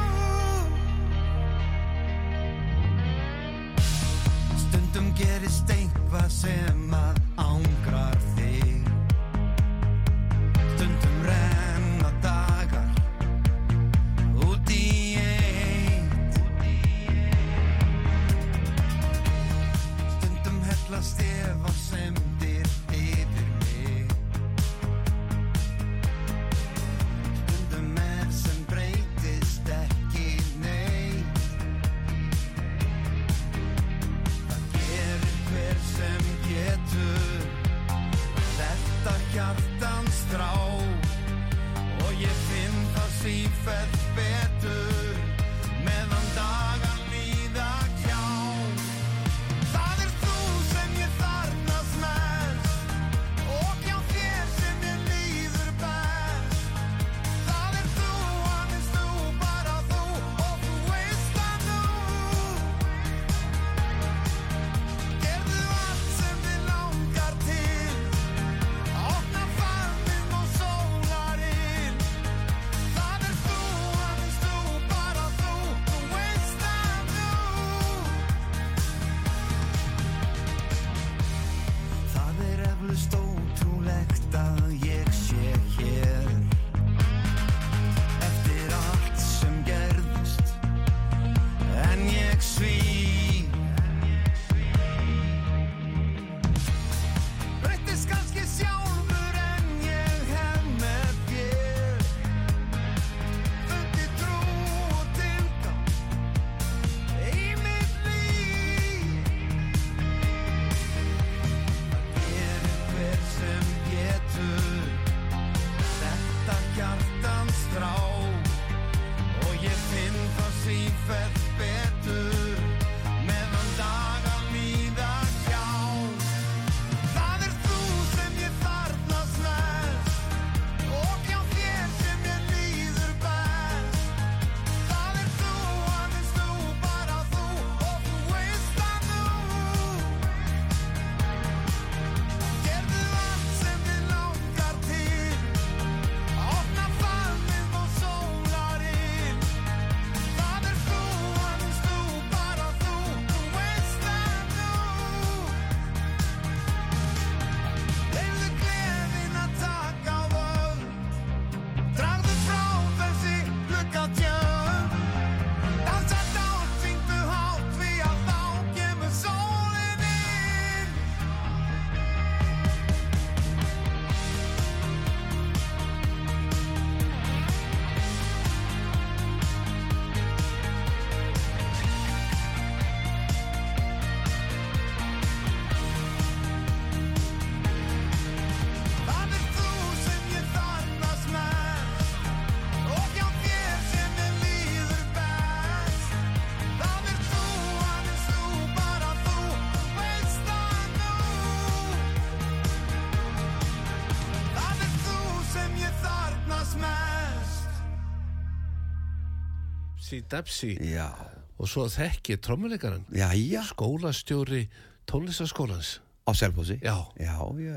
F: Stundum gerist eitthvað sem að ángrar þig Stundum renna dagar út í eitt Stundum hellast ef að semdir yfir mig Stundum er sem breytist ekki neitt Það gerir hver sem getur Þetta hjartans strá Og ég finn það sífellt betur Meðan dagar líða hjá Það er þú sem ég þarnast mest Og hjá þér sem mér líður best Það er þú, aðeins þú, bara þú Og þú veist það nú Gerðu allt sem þið langar til Opna farminn og sólarinn Það er þú, aðeins þú, bara þú Þú veist að þú Það er eflust ótrúlegt að ég sé hér Eftir allt sem gerðist En ég svík Breytist kannski sjálfur en ég hef með þér Fundi trú og tilgang í mitt líf Það gerir hver sem getur Þetta hjartans strá Og ég finn það sífellt betur Meðan dagan líða hjá Það er þú sem ég þarnast mest Og hjá þér sem ég líður best Það er þú, aðeins þú, bara þú Og þú veist að þú Gerðu allt sem þið langar til Opna farminn og sólarinn Það er þú, aðeins þú, bara þú Þú veist að þú Leifðu gleðin að taka á völd Dragðu frá þessi gluggatjöld Dansa dátt, syngdu hátt Því að þá kemur sólin inn Það er þú sem ég þarnast mest Og hjá þér sem ég líður best Það er þú, aðeins þú, bara þú Þú veist það nú Það er þú sem ég þarnast mest
C: Sí, dapsi.
B: Já.
C: Og svo þekki trommuleikaran,
B: Já, já.
C: skólastjóri tónlistaskólans.
B: á Selfossi
C: Já.
B: já, já,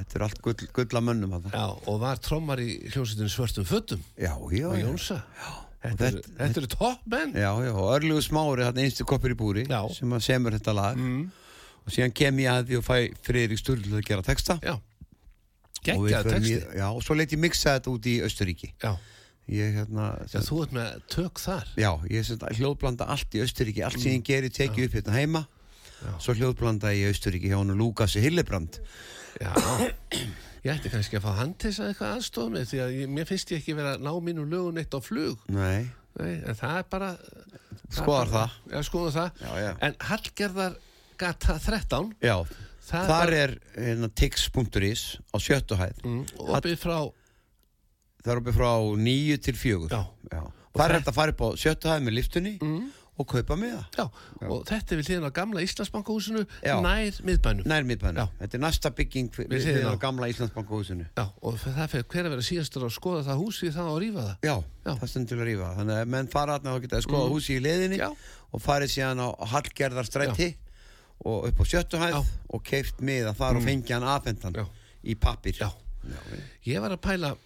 B: þetta er allt gull, gull að mönnum þarna.
C: Já, og var trommar í hljómsveitin svörtum föttum
B: já, já,
C: á
B: já.
C: Jónsa
B: Og
C: Þetta,
B: þetta-
C: þetta, þetta eru topp menn
B: Já, já, og Örlegu Smári, hann einstu koppur í búri
C: Já. Mm.
B: sem að semur þetta lag og síðan kem ég að því og fæ Friðrik Sturlu til að gera texta
C: Já,
B: og, við
C: geggjað
B: förum
C: texti
B: í, já, og svo leit ég miksa þetta út í Östuríki
C: Já,
B: ég hérna
C: já, þú ert með tök þar Mm.
B: já, ég sem sagt hljóðblanda allt í Östuríki allt sem ég geri tekið upp hérna heima svo hljóðblanda ég í Östuríki hjá hann Lúkasi Hillebrand
C: Já, ég ætti kannski að fá hann til þess að eitthvað aðstoð með því að ég, mér finnst ég ekki vera að ná mínum lögun eitt á flug
B: Nei,
C: Nei, en það er bara
B: Skoðar
C: bara-
B: það.
C: Já, skoðar það
B: Já, já.
C: En Hallgerðar gata 13
B: já
C: Það
B: Þar
C: bara-
B: er hérna, tix.is á sjöttu hæð
C: Mm, opið frá
B: Það er uppið frá nýju til fjögur
C: Já. Mm.
B: Það er hægt að fara upp á sjöttu hæð með liftunni og kaupa með það
C: Já, og þetta er við hliðin á gamla Íslandsbankahúsinu
B: Já.
C: nær miðbænum
B: Nær miðbænum,
C: Já.
B: þetta er næsta bygging við-
C: Við
B: við
C: hliðina á.
B: hliðina á gamla Íslandsbankahúsinu
C: Já, og það fyrir hver að vera síðastur að skoða það húsi þá að rífa það
B: Já,
C: Já. Mhm.
B: það stendur til að rífa það. Þannig að ef menn fara þarna þá geta að skoða húsi í leiðinni
C: Já.
B: og farið síðan á Hallgerðarstræti og upp á sjöttu hæð
C: Já. Mhm.
B: og keift miða þar og fengi hann afhendan
C: Já.
B: í pappir
C: Já. Ég var að pæla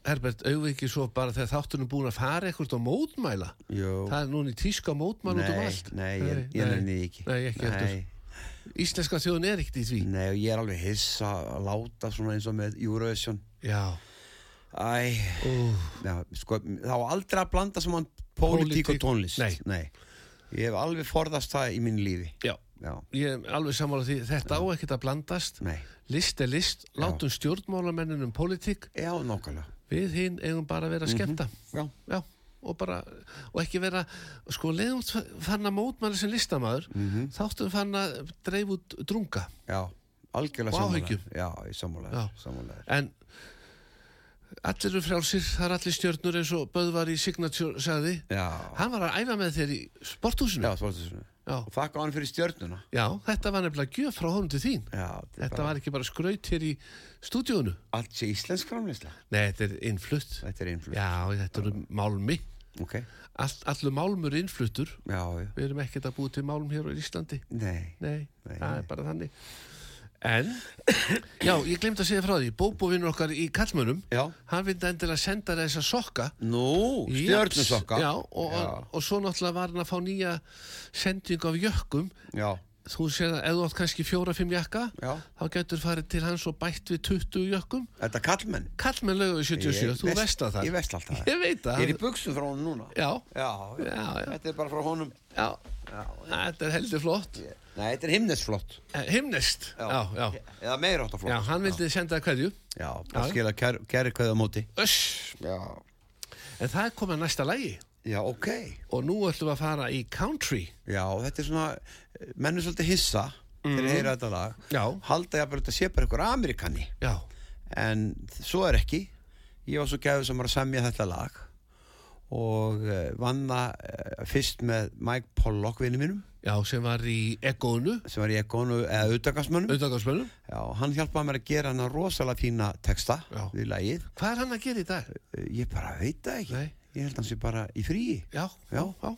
C: Herbert, auðvitað ekki svo bara þegar þáttunum búin að fara ekkert og mótmæla
B: Jú.
C: Það er núna í tíska mótmæl út um
B: Nei,
C: allt
B: nei, ég, ég nenni því ekki
C: Nei, ekki
B: nei,
C: heldur Íslenska þjóðin er ekkert í því
B: nei, og ég er alveg hissa að láta svona eins og með Eurovision
C: Já,
B: Æ, já, sko, þá á aldrei að blanda saman pólitík og
C: Pólitík,
B: tónlist
C: nei.
B: Ég hef alveg forðast það í mínu lífi
C: já
B: Já,
C: Ég er alveg sammála því, þetta á ekkert að blandast
B: nei,
C: List er list, látum stjórnmálamennin um pólitík
B: já, nákvæmlega Mhm.
C: Við hinn eigum bara að vera að skemmta
B: Já,
C: Já, og bara og ekki vera, sko, leiðum fann að mótmæla sem listamaður þáttum fann að dreif út drunga
B: Mhm. já, algjörlega
C: Og
B: sammála
C: áhyggjum.
B: Já, ég sammála
C: Já.
B: þér, sammála þér.
C: en allir eru frjálsir, það er allir stjörnur eins og Böðvar í Signature sagði
B: Já,
C: hann var að æfa með þér í sporthúsinu
B: já, svartu svona
C: já.
B: Og þakka hann fyrir stjörnuna
C: Já, þetta var nefnilega gjöf frá honum til þín
B: Já, þetta er
C: þetta var ekki bara skraut hér í stúdíónu
B: allt sé íslensk framleysla
C: nei, þetta er innflutt
B: Þetta er einflut
C: já, þetta eru málmi
B: Ok,
C: All, allur málmur er innfluttur
B: já, já,
C: við erum ekkert að búið til málum hér á Íslandi
B: nei
C: Nei,
B: Nei,
C: það
B: nei.
C: er bara þannig En, já, ég glemt að segja frá því Bóbóvinur okkar í Kallmönum
B: Já,
C: Hann vildi endilega senda þér þessa sokka
B: nú, stjörnusokka
C: Já, og, og, og svo náttúrulega var hann að fá nýja sendingu af jökkum
B: já,
C: Þú séð að ef þú átt kannski fjóra-fimm jakka
B: já
C: Þá getur farið til hans og bætt við 20 jökkum
B: Þetta er kallmenn
C: Kallmönn laugur 77, þú
B: vest-
C: vestar það
B: Ég vest alltaf það.
C: Ég veit það
B: Ég er í buksum frá honum núna
C: Já,
B: Já,
C: Já, já.
B: þetta er bara frá honum
C: já, þetta er heldur flott Eh,
B: Nei, þetta er himnesflott
C: Himnest, já, já
B: Eða meira átt
C: Já,
B: flott
C: hann vildi senda það hverju
B: Já, bara skila kæri, kæri kveða móti
C: Öss,
B: Já
C: en það er komið að næsta lagi
B: Já, ok
C: og nú ætlum við að fara í country
B: Já, þetta er svona eh, menn er svolítið hissa þegar þeir heyra þetta lag
C: Mm. Já.
B: Halda ég að þetta sé bara ykkur Amerikani
C: Já,
B: En svo er ekki Ég var svo gæður sem var að semja þetta lag og eh, vann það eh, fyrst með Mike Pollock vinnu mínum
C: já, sem var í Egoinu,
B: sem var í Ekonu eða auðdagarsmönnum
C: auðvitaðgangsmönnum
B: Já, hann hjálpaði mér að gera hann rosalega fína texta
C: Já.
B: við lagið.
C: Hvað er hann að gera í dag?
B: Eh, Ég bara veit það ekki.
C: Nei.
B: Ég held hann sé bara í fríi.
C: Já, já,
B: Já.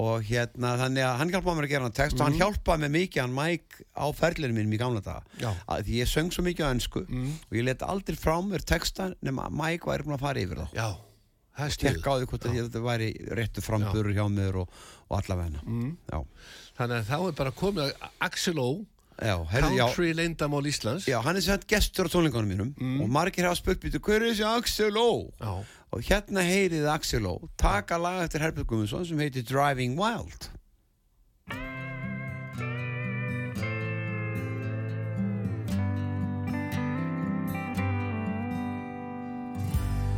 B: Og hérna, þannig að hann hjálpaði mér að gera hann text og
C: Mhm.
B: hann hjálpaði mér mikið, hann Mike, á ferlinu mínum í gamla daga.
C: Já.
B: Að því ég söng svo mikið á ennsku
C: Mm.
B: og ég let aldrei frá mér texta nema að Mike væri búin að fara yfir þá.
C: já, það er stuð
B: Tekka á því hvort að ég- þetta væri réttu framburur hjá mér og, og allavegna. Mm. Já.
C: Þannig að þá er bara komið að Axel O
B: Já, herri, já,
C: Country leindamál Íslands Mm.
B: Já, hann er sem sagt gestur á tónleikunum mínum og margir hafa spurt býtu, hver er þessi Axel Ó?
C: Já.
B: Og hérna heyrið Axel Ó taka lag eftir Herbjörg Guðmundsson sem heitir Driving Wild.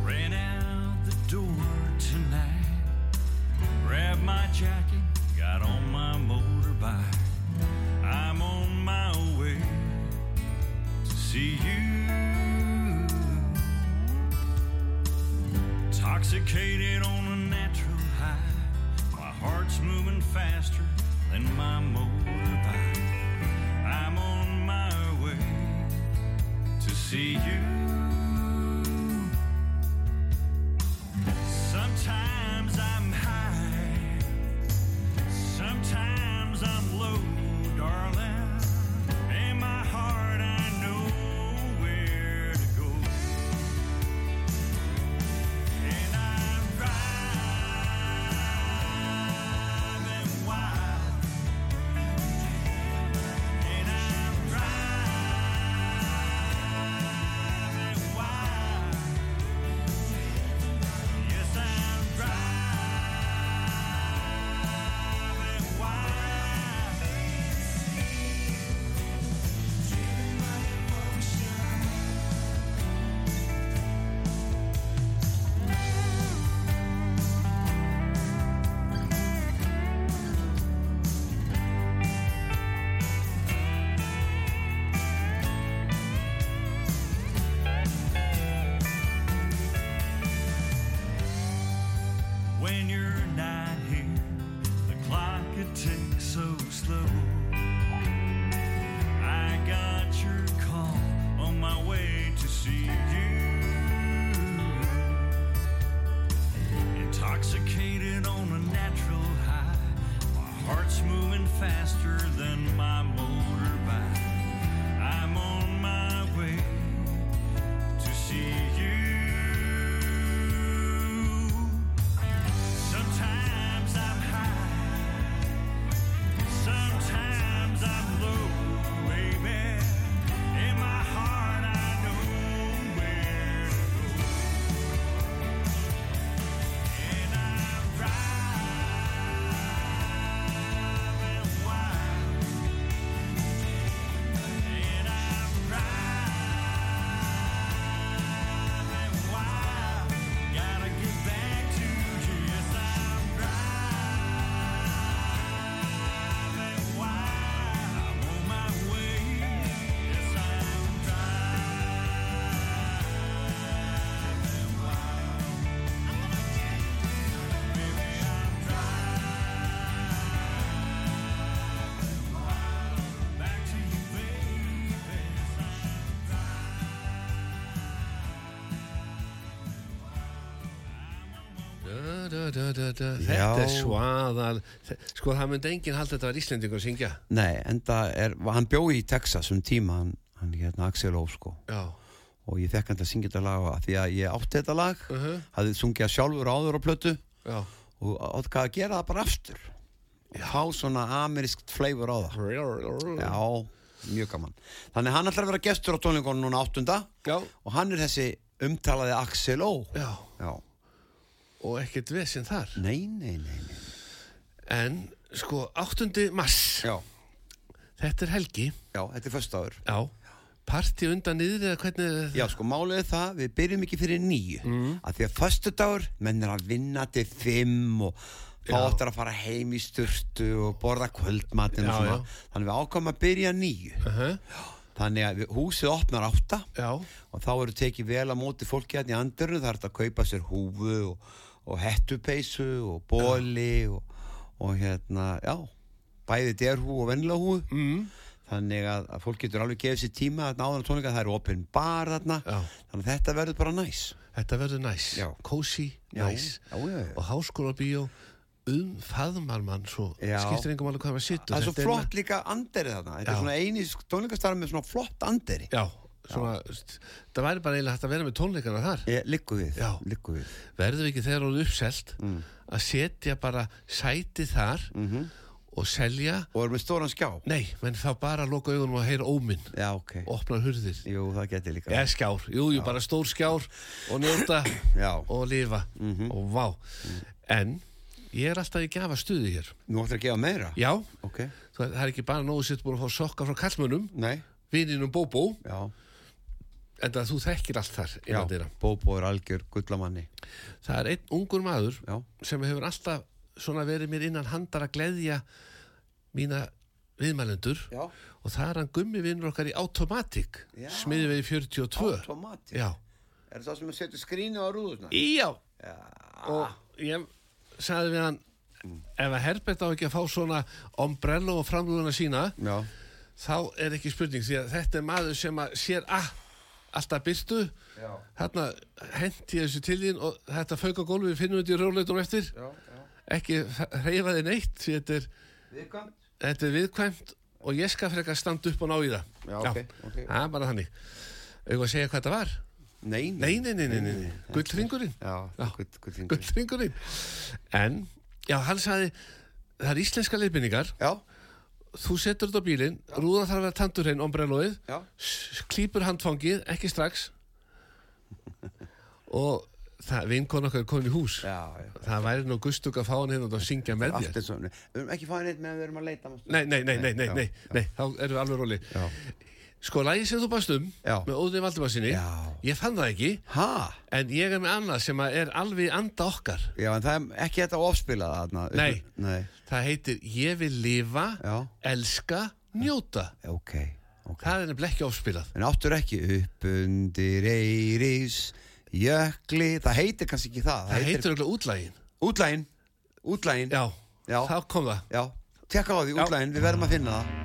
A: Ran out the door tonight. Grabbed my jacket, got on my motorbike. I'm on my way to see you. Intoxicated on a natural high. My heart's moving faster than my motorbike. I'm on my way to see you. Sometimes I'm high, sometimes I'm low, darling. And
H: It's moving faster than my motorbike. I'm on my way to see you. Sometimes I'm high, sometimes I'm low, baby. In my heart, I know where to go. And I ride. Gotta get back to you. Yes, I'm driving wild. I'm on my way. Yes, I'm driving wild. Baby, I'm driving wild. Back to you, baby. Yes, I'm
C: Da, da, da, da, da.
B: Já.
C: Þetta er svaðal Sko það myndi enginn halda þetta var Íslendingur að syngja
B: Nei, enda er, hann bjói í Texas um tíma, hann, hann hérna Axel Ó sko
C: Já,
B: og ég fekk hann til að syngja þetta lag af því að ég átti þetta lag uh
C: Mhm.
B: hafði sungið það sjálfur áður á plötu
C: já
B: og átti hvað að gera það bara aftur og há svona amerískt flavor á það
C: Já,
B: Já, mjög gaman Þannig hann ætlar að vera gestur á tónleikonum núna áttunda
C: já,
B: og hann er þessi umtalaði Axel Ó
C: já.
B: Já,
C: Og ekkert vesinn þar
B: nei, nei, nei, nei.
C: En sko, 8. mars
B: Já,
C: Þetta er helgi
B: já, þetta er föstaður
C: Já Parti undan niður eða hvernig er það?
B: Já, sko, málið er það, við byrjum ekki fyrir nýju mm. að því að föstudagur, menn er að vinna til fimm og þá
C: Já.
B: áttar að fara heim í sturtu og borða kvöldmatinn og
C: Já,
B: svona
C: já.
B: þannig við ákvæmum að byrja nýju þannig að við, húsið opnar átta
C: Já,
B: og þá eru tekið vel á móti fólki hérna í andurnu, það er þetta að kaupa sér húfu og, og hettupeysu og bóli og, og hérna, já bæði derhú og venla húfu mm. þannig að, að fólk getur alveg gefið sér tíma þarna áður en tónleika, það eru opinn bar þarna
C: Já.
B: þannig að þetta verður bara næs
C: þetta verður næs
B: Já.
C: Kósi,
B: Já,
C: næs
B: já, já, já.
C: Og háskóla bíó um faðmar mann svo
B: Já.
C: Skiptir engum alveg hvað maður situr
B: það er svo
C: Þetta
B: flott líka anderi þarna þetta
C: Já.
B: er svona eini tónleikastarf með svona flott anderi
C: Já, svona, það væri bara eiginlega hægt að vera með tónleikana þar
B: Eh, Liggu við,
C: Já.
B: liggu við Mm.
C: verður ekki þegar hún er uppselt að setja bara sæti þar
B: Mhm.
C: og selja
B: og erum við stóran skjá
C: nei, menn þá bara loka augunum og heyra óminn
B: já, ok,
C: og opna hurðir
B: jú, það geti líka
C: eða skjár, jú, jú, bara stór skjár og njóta
B: Já. Mhm.
C: og lifa og vá
B: Mm.
C: en ég er alltaf í gefa stuði hér
B: nú ætlar að gefa meira
C: já,
B: ok,
C: það það er ekki bara nógu sitt búin að fá sokka frá kallmönnum
B: nei,
C: vininum Bóbó,
B: já
C: en það þú þekkir allt þar
B: Já,
C: innan þeirra
B: Bóbó er algjör gullamanni
C: það er einn ungur maður
B: Já,
C: sem hefur alltaf svona verið mér innan handar að gleðja mína viðmælendur
B: Já.
C: og það er hann gummi vinnur okkar í Automatic
B: Já.
C: smiðvegi 42
B: Automatic
C: Já.
B: Er það sem að setja skrínu á rúðuna?
C: Já. og ég sagði við hann ef að Herbert á ekki að fá svona ombrello og framlúðuna sína
B: Já,
C: þá er ekki spurning því að þetta er maður sem að sér að alltaf byrtu
B: Já.
C: þarna hendi ég þessu til þín og þetta fauk á gólfi, við finnum þetta í rjóðleitum eftir
B: já, já
C: ekki hreyfa þið neitt því þetta er,
B: Viðkvæmt
C: þetta er viðkvæmt og ég skal frekar standa upp og ná í það
B: Já, ok, ok.
C: Það er bara þannig Eða að segja hvað þetta var?
B: Nei,
C: Nei, nei, nei, nei, nei, nei. gullringurinn
B: Já, gull- gullhringur.
C: gullringurinn En, já, hann sagði það er íslenska leifinningar
B: Já,
C: þú setur þetta á bílinn, rúðan þarf að vera tandurrein ombrelóið,
B: já,
C: s- klípur handfangið ekki strax og það vinkon okkar er komin í hús
B: já, já
C: það væri nú gustug að fá hann hérna og að syngja með þér
B: Allt er svona Við erum ekki fáið neitt meðan við erum að leita manstu?
C: Nei, nei, nei, nei, nei,
B: já,
C: nei, nei, þá erum við alveg róli
B: Já.
C: Sko, lagið sem þú baðst um
B: Já.
C: með Óðni Valdimarsinni,
B: Já.
C: ég fann það ekki
B: Ha?
C: en ég er með annað sem að er alveg í anda okkar
B: Já, en það er ekki þetta ofspila þarna upp-
C: Nei.
B: Nei,
C: Það heitir Ég vil lifa,
B: Já.
C: elska, njóta
B: ok, ok
C: Það er nefnilega ekki ofspilað
B: En áttur ekki upp undir eiris Jökli Það heitir kannski ekki það
C: Það heitir auðvitað útlægin
B: Útlægin Útlægin
C: Já,
B: Já.
C: þá kom það
B: Já, tekka á því útlæðin, við verðum að finna það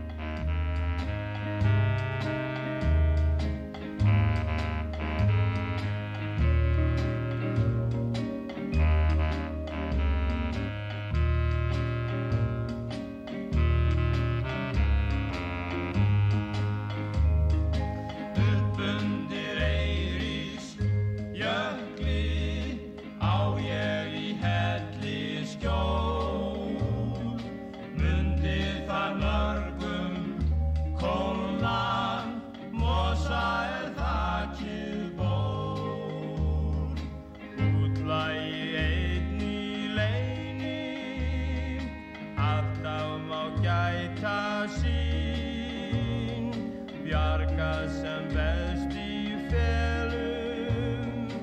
I: leita sín bjarga sem best í felum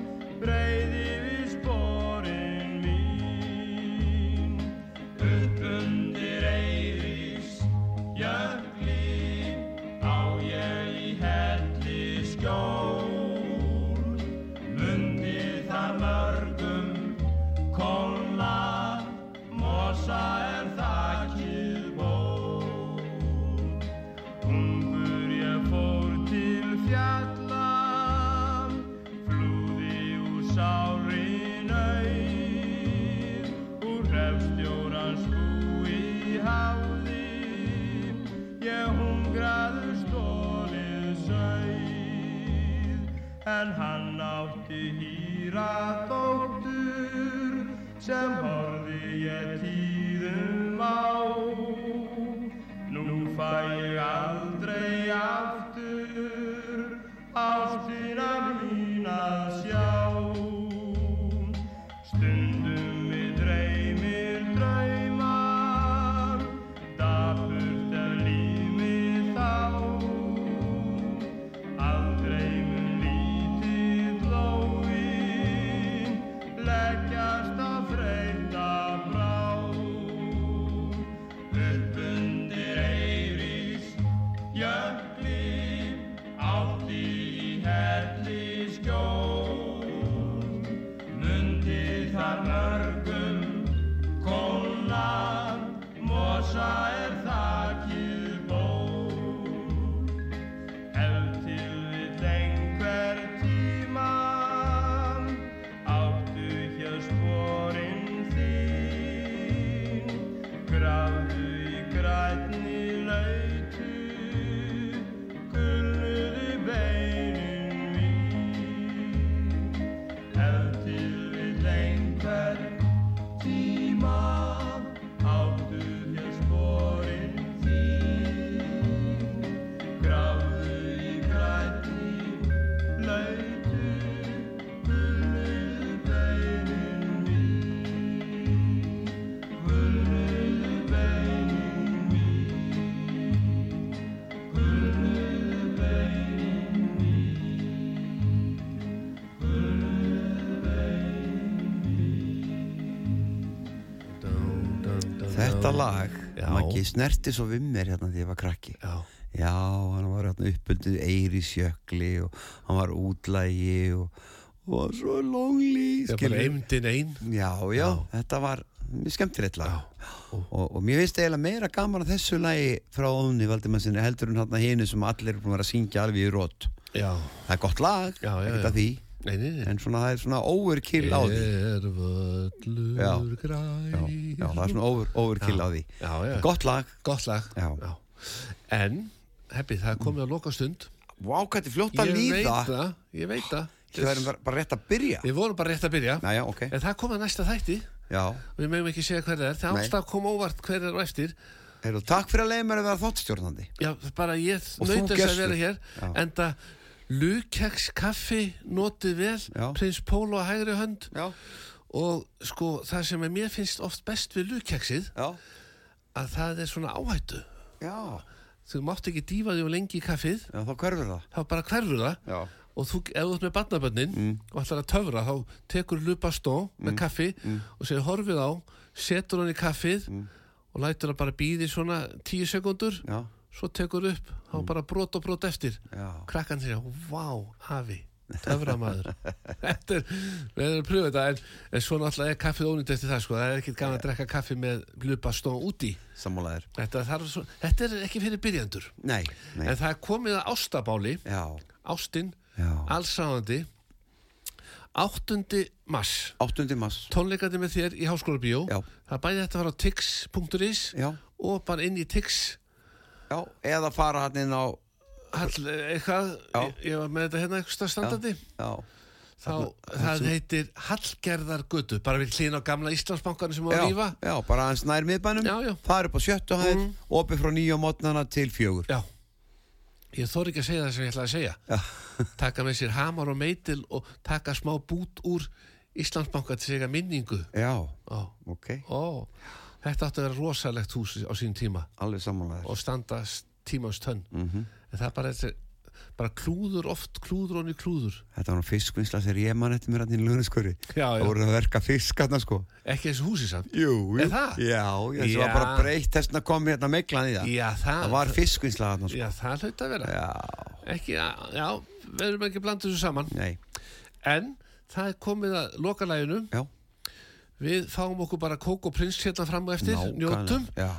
I: breiði við sporin mín upp undir eiris jökli á ég í helli skjól mundi þar mörgum kóla mosa er þakið ból ungur ég fór til fjalla flúði úr sári nöyð úr refstjórans búi háði ég hungraður stólið sauð en hann átti hýra dóttur sem horfi ég tíðum á nú fæ ég aldrei aftur ástina mín að sjá stundum við dreymir draumar dapurt er líf mitt þá Aldrei mun lítið blóin leggjast á freyta brá. Upp undir Eiríks jökli átti í helli skjól. Mundi þar mörgum kóla, mosa er þakið ból. Ef til við einhver tíman áttu hér sporin þín Grafðu í grænni lautu, gulluðu beinin mín Ef til við einhver tíma áttu hér sporin þín Grafðu í grænni lautu Gulluðu beinin mín Gulluðu beinin mín Gulluðu beinin mín Gulluðu beinin
C: Dun, dun, dun,
B: Þetta
C: dun.
B: lag,
C: Já.
B: Maggi, snerti svo við mér hérna því ég var krakki.
C: Já,
B: Já, hann var hérna uppöldið Eirísjökli og hann var útlægi og, og var svo lonely,
C: það er bara
B: skilur.
C: eimdin ein
B: Já, já, þetta var mjög skemmtilegt lag.
C: og-
B: Og, og mér finnst eiginlega meira gaman að þessu lagi frá Óðunni Valdimannsinni heldur en hérna hinu sem allir er búin að vera að syngja alveg í rót.
C: Já,
B: Það er gott lag,
C: Já, já,
B: ekkert
C: já.
B: að því,
C: nei, nei, nei
B: en svona það er svona overkill á því.
C: Er
B: Já.
C: völlur
B: Já,
C: grær
B: já, það er svona over, overkill á því.
C: Já, já,
B: Gott lag.
C: gott lag
B: Já.
C: En, heppi, það er komið að loka stund
B: Vá, hvað þetta er fljótt að
C: Ég veit
B: líða.
C: það, ég veit það
B: Við verðum bara, bara rétt að byrja
C: Við vorum bara rétt að byrja
B: Næja, ok
C: En það komið næsta þætti
B: Já,
C: Við mögum ekki segja hver það er Það
B: Nei.
C: ást að koma óvart hver er á eftir
B: Heru, takk fyrir að leiða mér að vera þáttstjórnandi
C: Já, bara ég
B: Og þú
C: naut þess að
B: gestur.
C: vera hér
B: Já.
C: En það Lukeks kaffi notið vel
B: Já.
C: Prins Pólo að hægri hönd
B: Já,
C: Og sko, það sem er mér finnst oft best við lukkeksið
B: já,
C: Að það er svona áhættu
B: já
C: Þú mátt ekki dýfa því og lengi í kaffið
B: Já, þá hverfur það
C: Þá bara hverfur það
B: Já, Mm.
C: Og þú, ef þú ert með barnabönnin og ætlar að töfra, þá tekur lupastó með kaffi
B: Mm.
C: og segir horfið á, setur hann í kaffið og lætur hann bara býði svona tíu sekundur,
B: já,
C: svo tekur upp, þá bara brot og brot eftir.
B: já
C: Krakkan segir, vá, hafi, töframaður. þetta er, við erum að pröfa þetta, en, en svo náttúrulega er kaffið ónýtt eftir það, sko, það er ekkit gaman að drekka kaffi með lupastó úti.
B: Sammálaðir
C: Þetta, þarf svo, þetta er ekki fyrir byrjandur.
B: Nei, nei
C: En það er komið að ástabáli,
B: Já,
C: ástinn,
B: já
C: allsáðandi 8. mars
B: 8. mass
C: tónleikandi með þér í Háskóla Bíó
B: Já.
C: það er bæði þetta að fara á tix.is
B: Já,
C: og bara inn í tix
B: já Eða fara hann inn á
C: Hall, eitthvað,
B: Já.
C: ég, ég var með þetta hérna eitthvað standandi
B: Já,
C: þá, það heitir Hallgerðargötu bara við hlýðin á gamla Íslandsbankarnir sem var
B: já,
C: að rífa
B: já bara hans nær miðbænum
C: Já, já.
B: Það er upp á sjöttu hæð Opið frá nýju á mótnana til fjögur
C: já, ég þor ekki að segja það sem ég ætlaði að segja taka með sér hamar og meitil og taka smá bút úr Íslandsbanka til að segja minningu
B: Já,
C: Ó.
B: ok
C: Ó, þetta átti að vera rosalegt hús á sín tíma
B: alveg Mhm. samanlega
C: og standa s- tímans tönn en það er bara, þessi- bara klúður oft klúður onni klúður
B: Þetta var nú fiskvinnsla þegar ég man eftir mér hann í lögneskori
C: Já, já.
B: Það voru að verka fisk hann sko
C: ekki þessu húsi samt
B: Jú, jú
C: Er það?
B: Já, já, þessi var
C: Já.
B: bara breytt þess vegna kom hérna meiklan í það
C: Já, það-
B: Það var fiskvinnsla hann sko
C: já það hlaut að vera
B: Já,
C: ekki, að- já, við erum ekki að blanda þessu saman
B: nei,
C: en það er komið að lokalæginu
B: já
C: við fáum okkur bara kók og prins hérna fram og eftir,
B: nákvæmlega.
C: njótum
B: Já,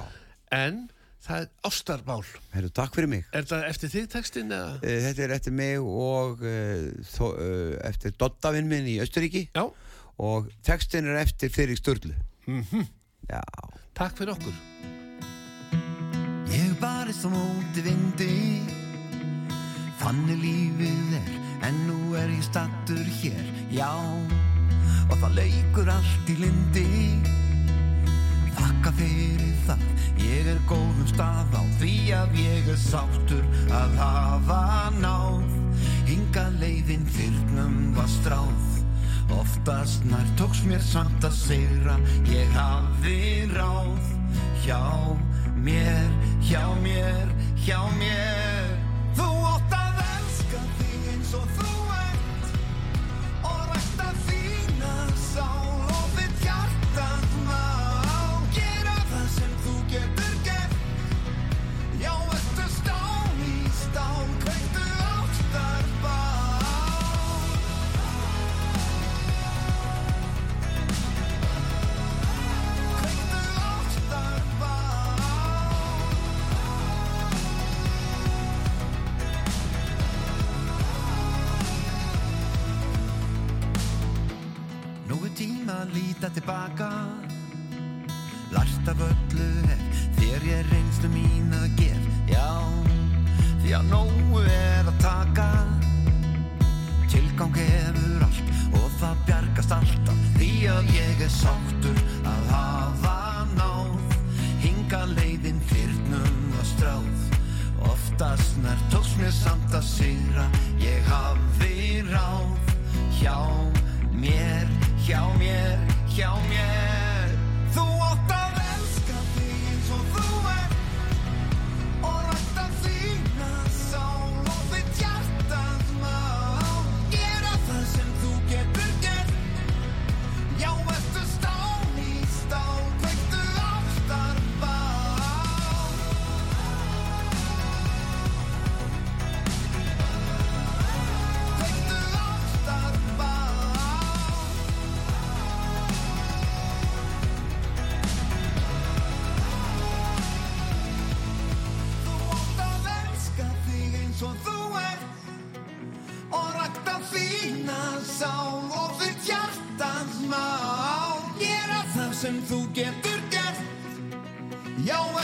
C: en það er ástarbál
B: heyrðu, takk fyrir mig
C: er það eftir þig textin eða?
B: Eh, Þetta er eftir mig og uh, þó, uh, eftir Dottavinn minn í Östuríki
C: já,
B: og textin er eftir fyrir Sturlu mm
C: Mhm.
B: -hmm. Já
C: takk fyrir okkur
F: Ég barist á móti vindi Þannig lífið er En nú er ég stattur hér Já Og það leikur allt í lindi Þakka fyrir það Ég er góðum stað á Því að ég er sáttur Að hafa náð Hinga leiðin þyrnum var stráð Oftast nær tóks mér samt að segra Ég hafði ráð Hjá mér, hjá mér, hjá mér Þú átt að elska þig eins og þú ert Og rækta þína sál og þitt hjartað má Gera það sem þú getur gert Já, ertu stál í stál, kveiktu áttar bál Kveiktu áttar bál Nú er tíma að líta tilbaka Lært af öllu hef Þegar ég reynslu mín að gef Já, því að nógu er að taka Tilgang hefur allt Og það bjargast alltaf Því að ég er sáttur að hafa náð Hinga leiðin fyrnum að stráð Oftast nær tóks mér samt að sigra Ég hafi ráð Hjá mér, hjá mér, hjá mér Þú átt að elska þig eins og þú ert og rækta þína sál og þitt hjartað má. Gera það sem þú getur gert. Já, ertu stál í stál, kveiktu ástarbál. Kveiktu ástarbál. Þú átt að elska þig eins og þú ert og rækta þína sál og þitt hjartans má gera það sem þú getur gert Já,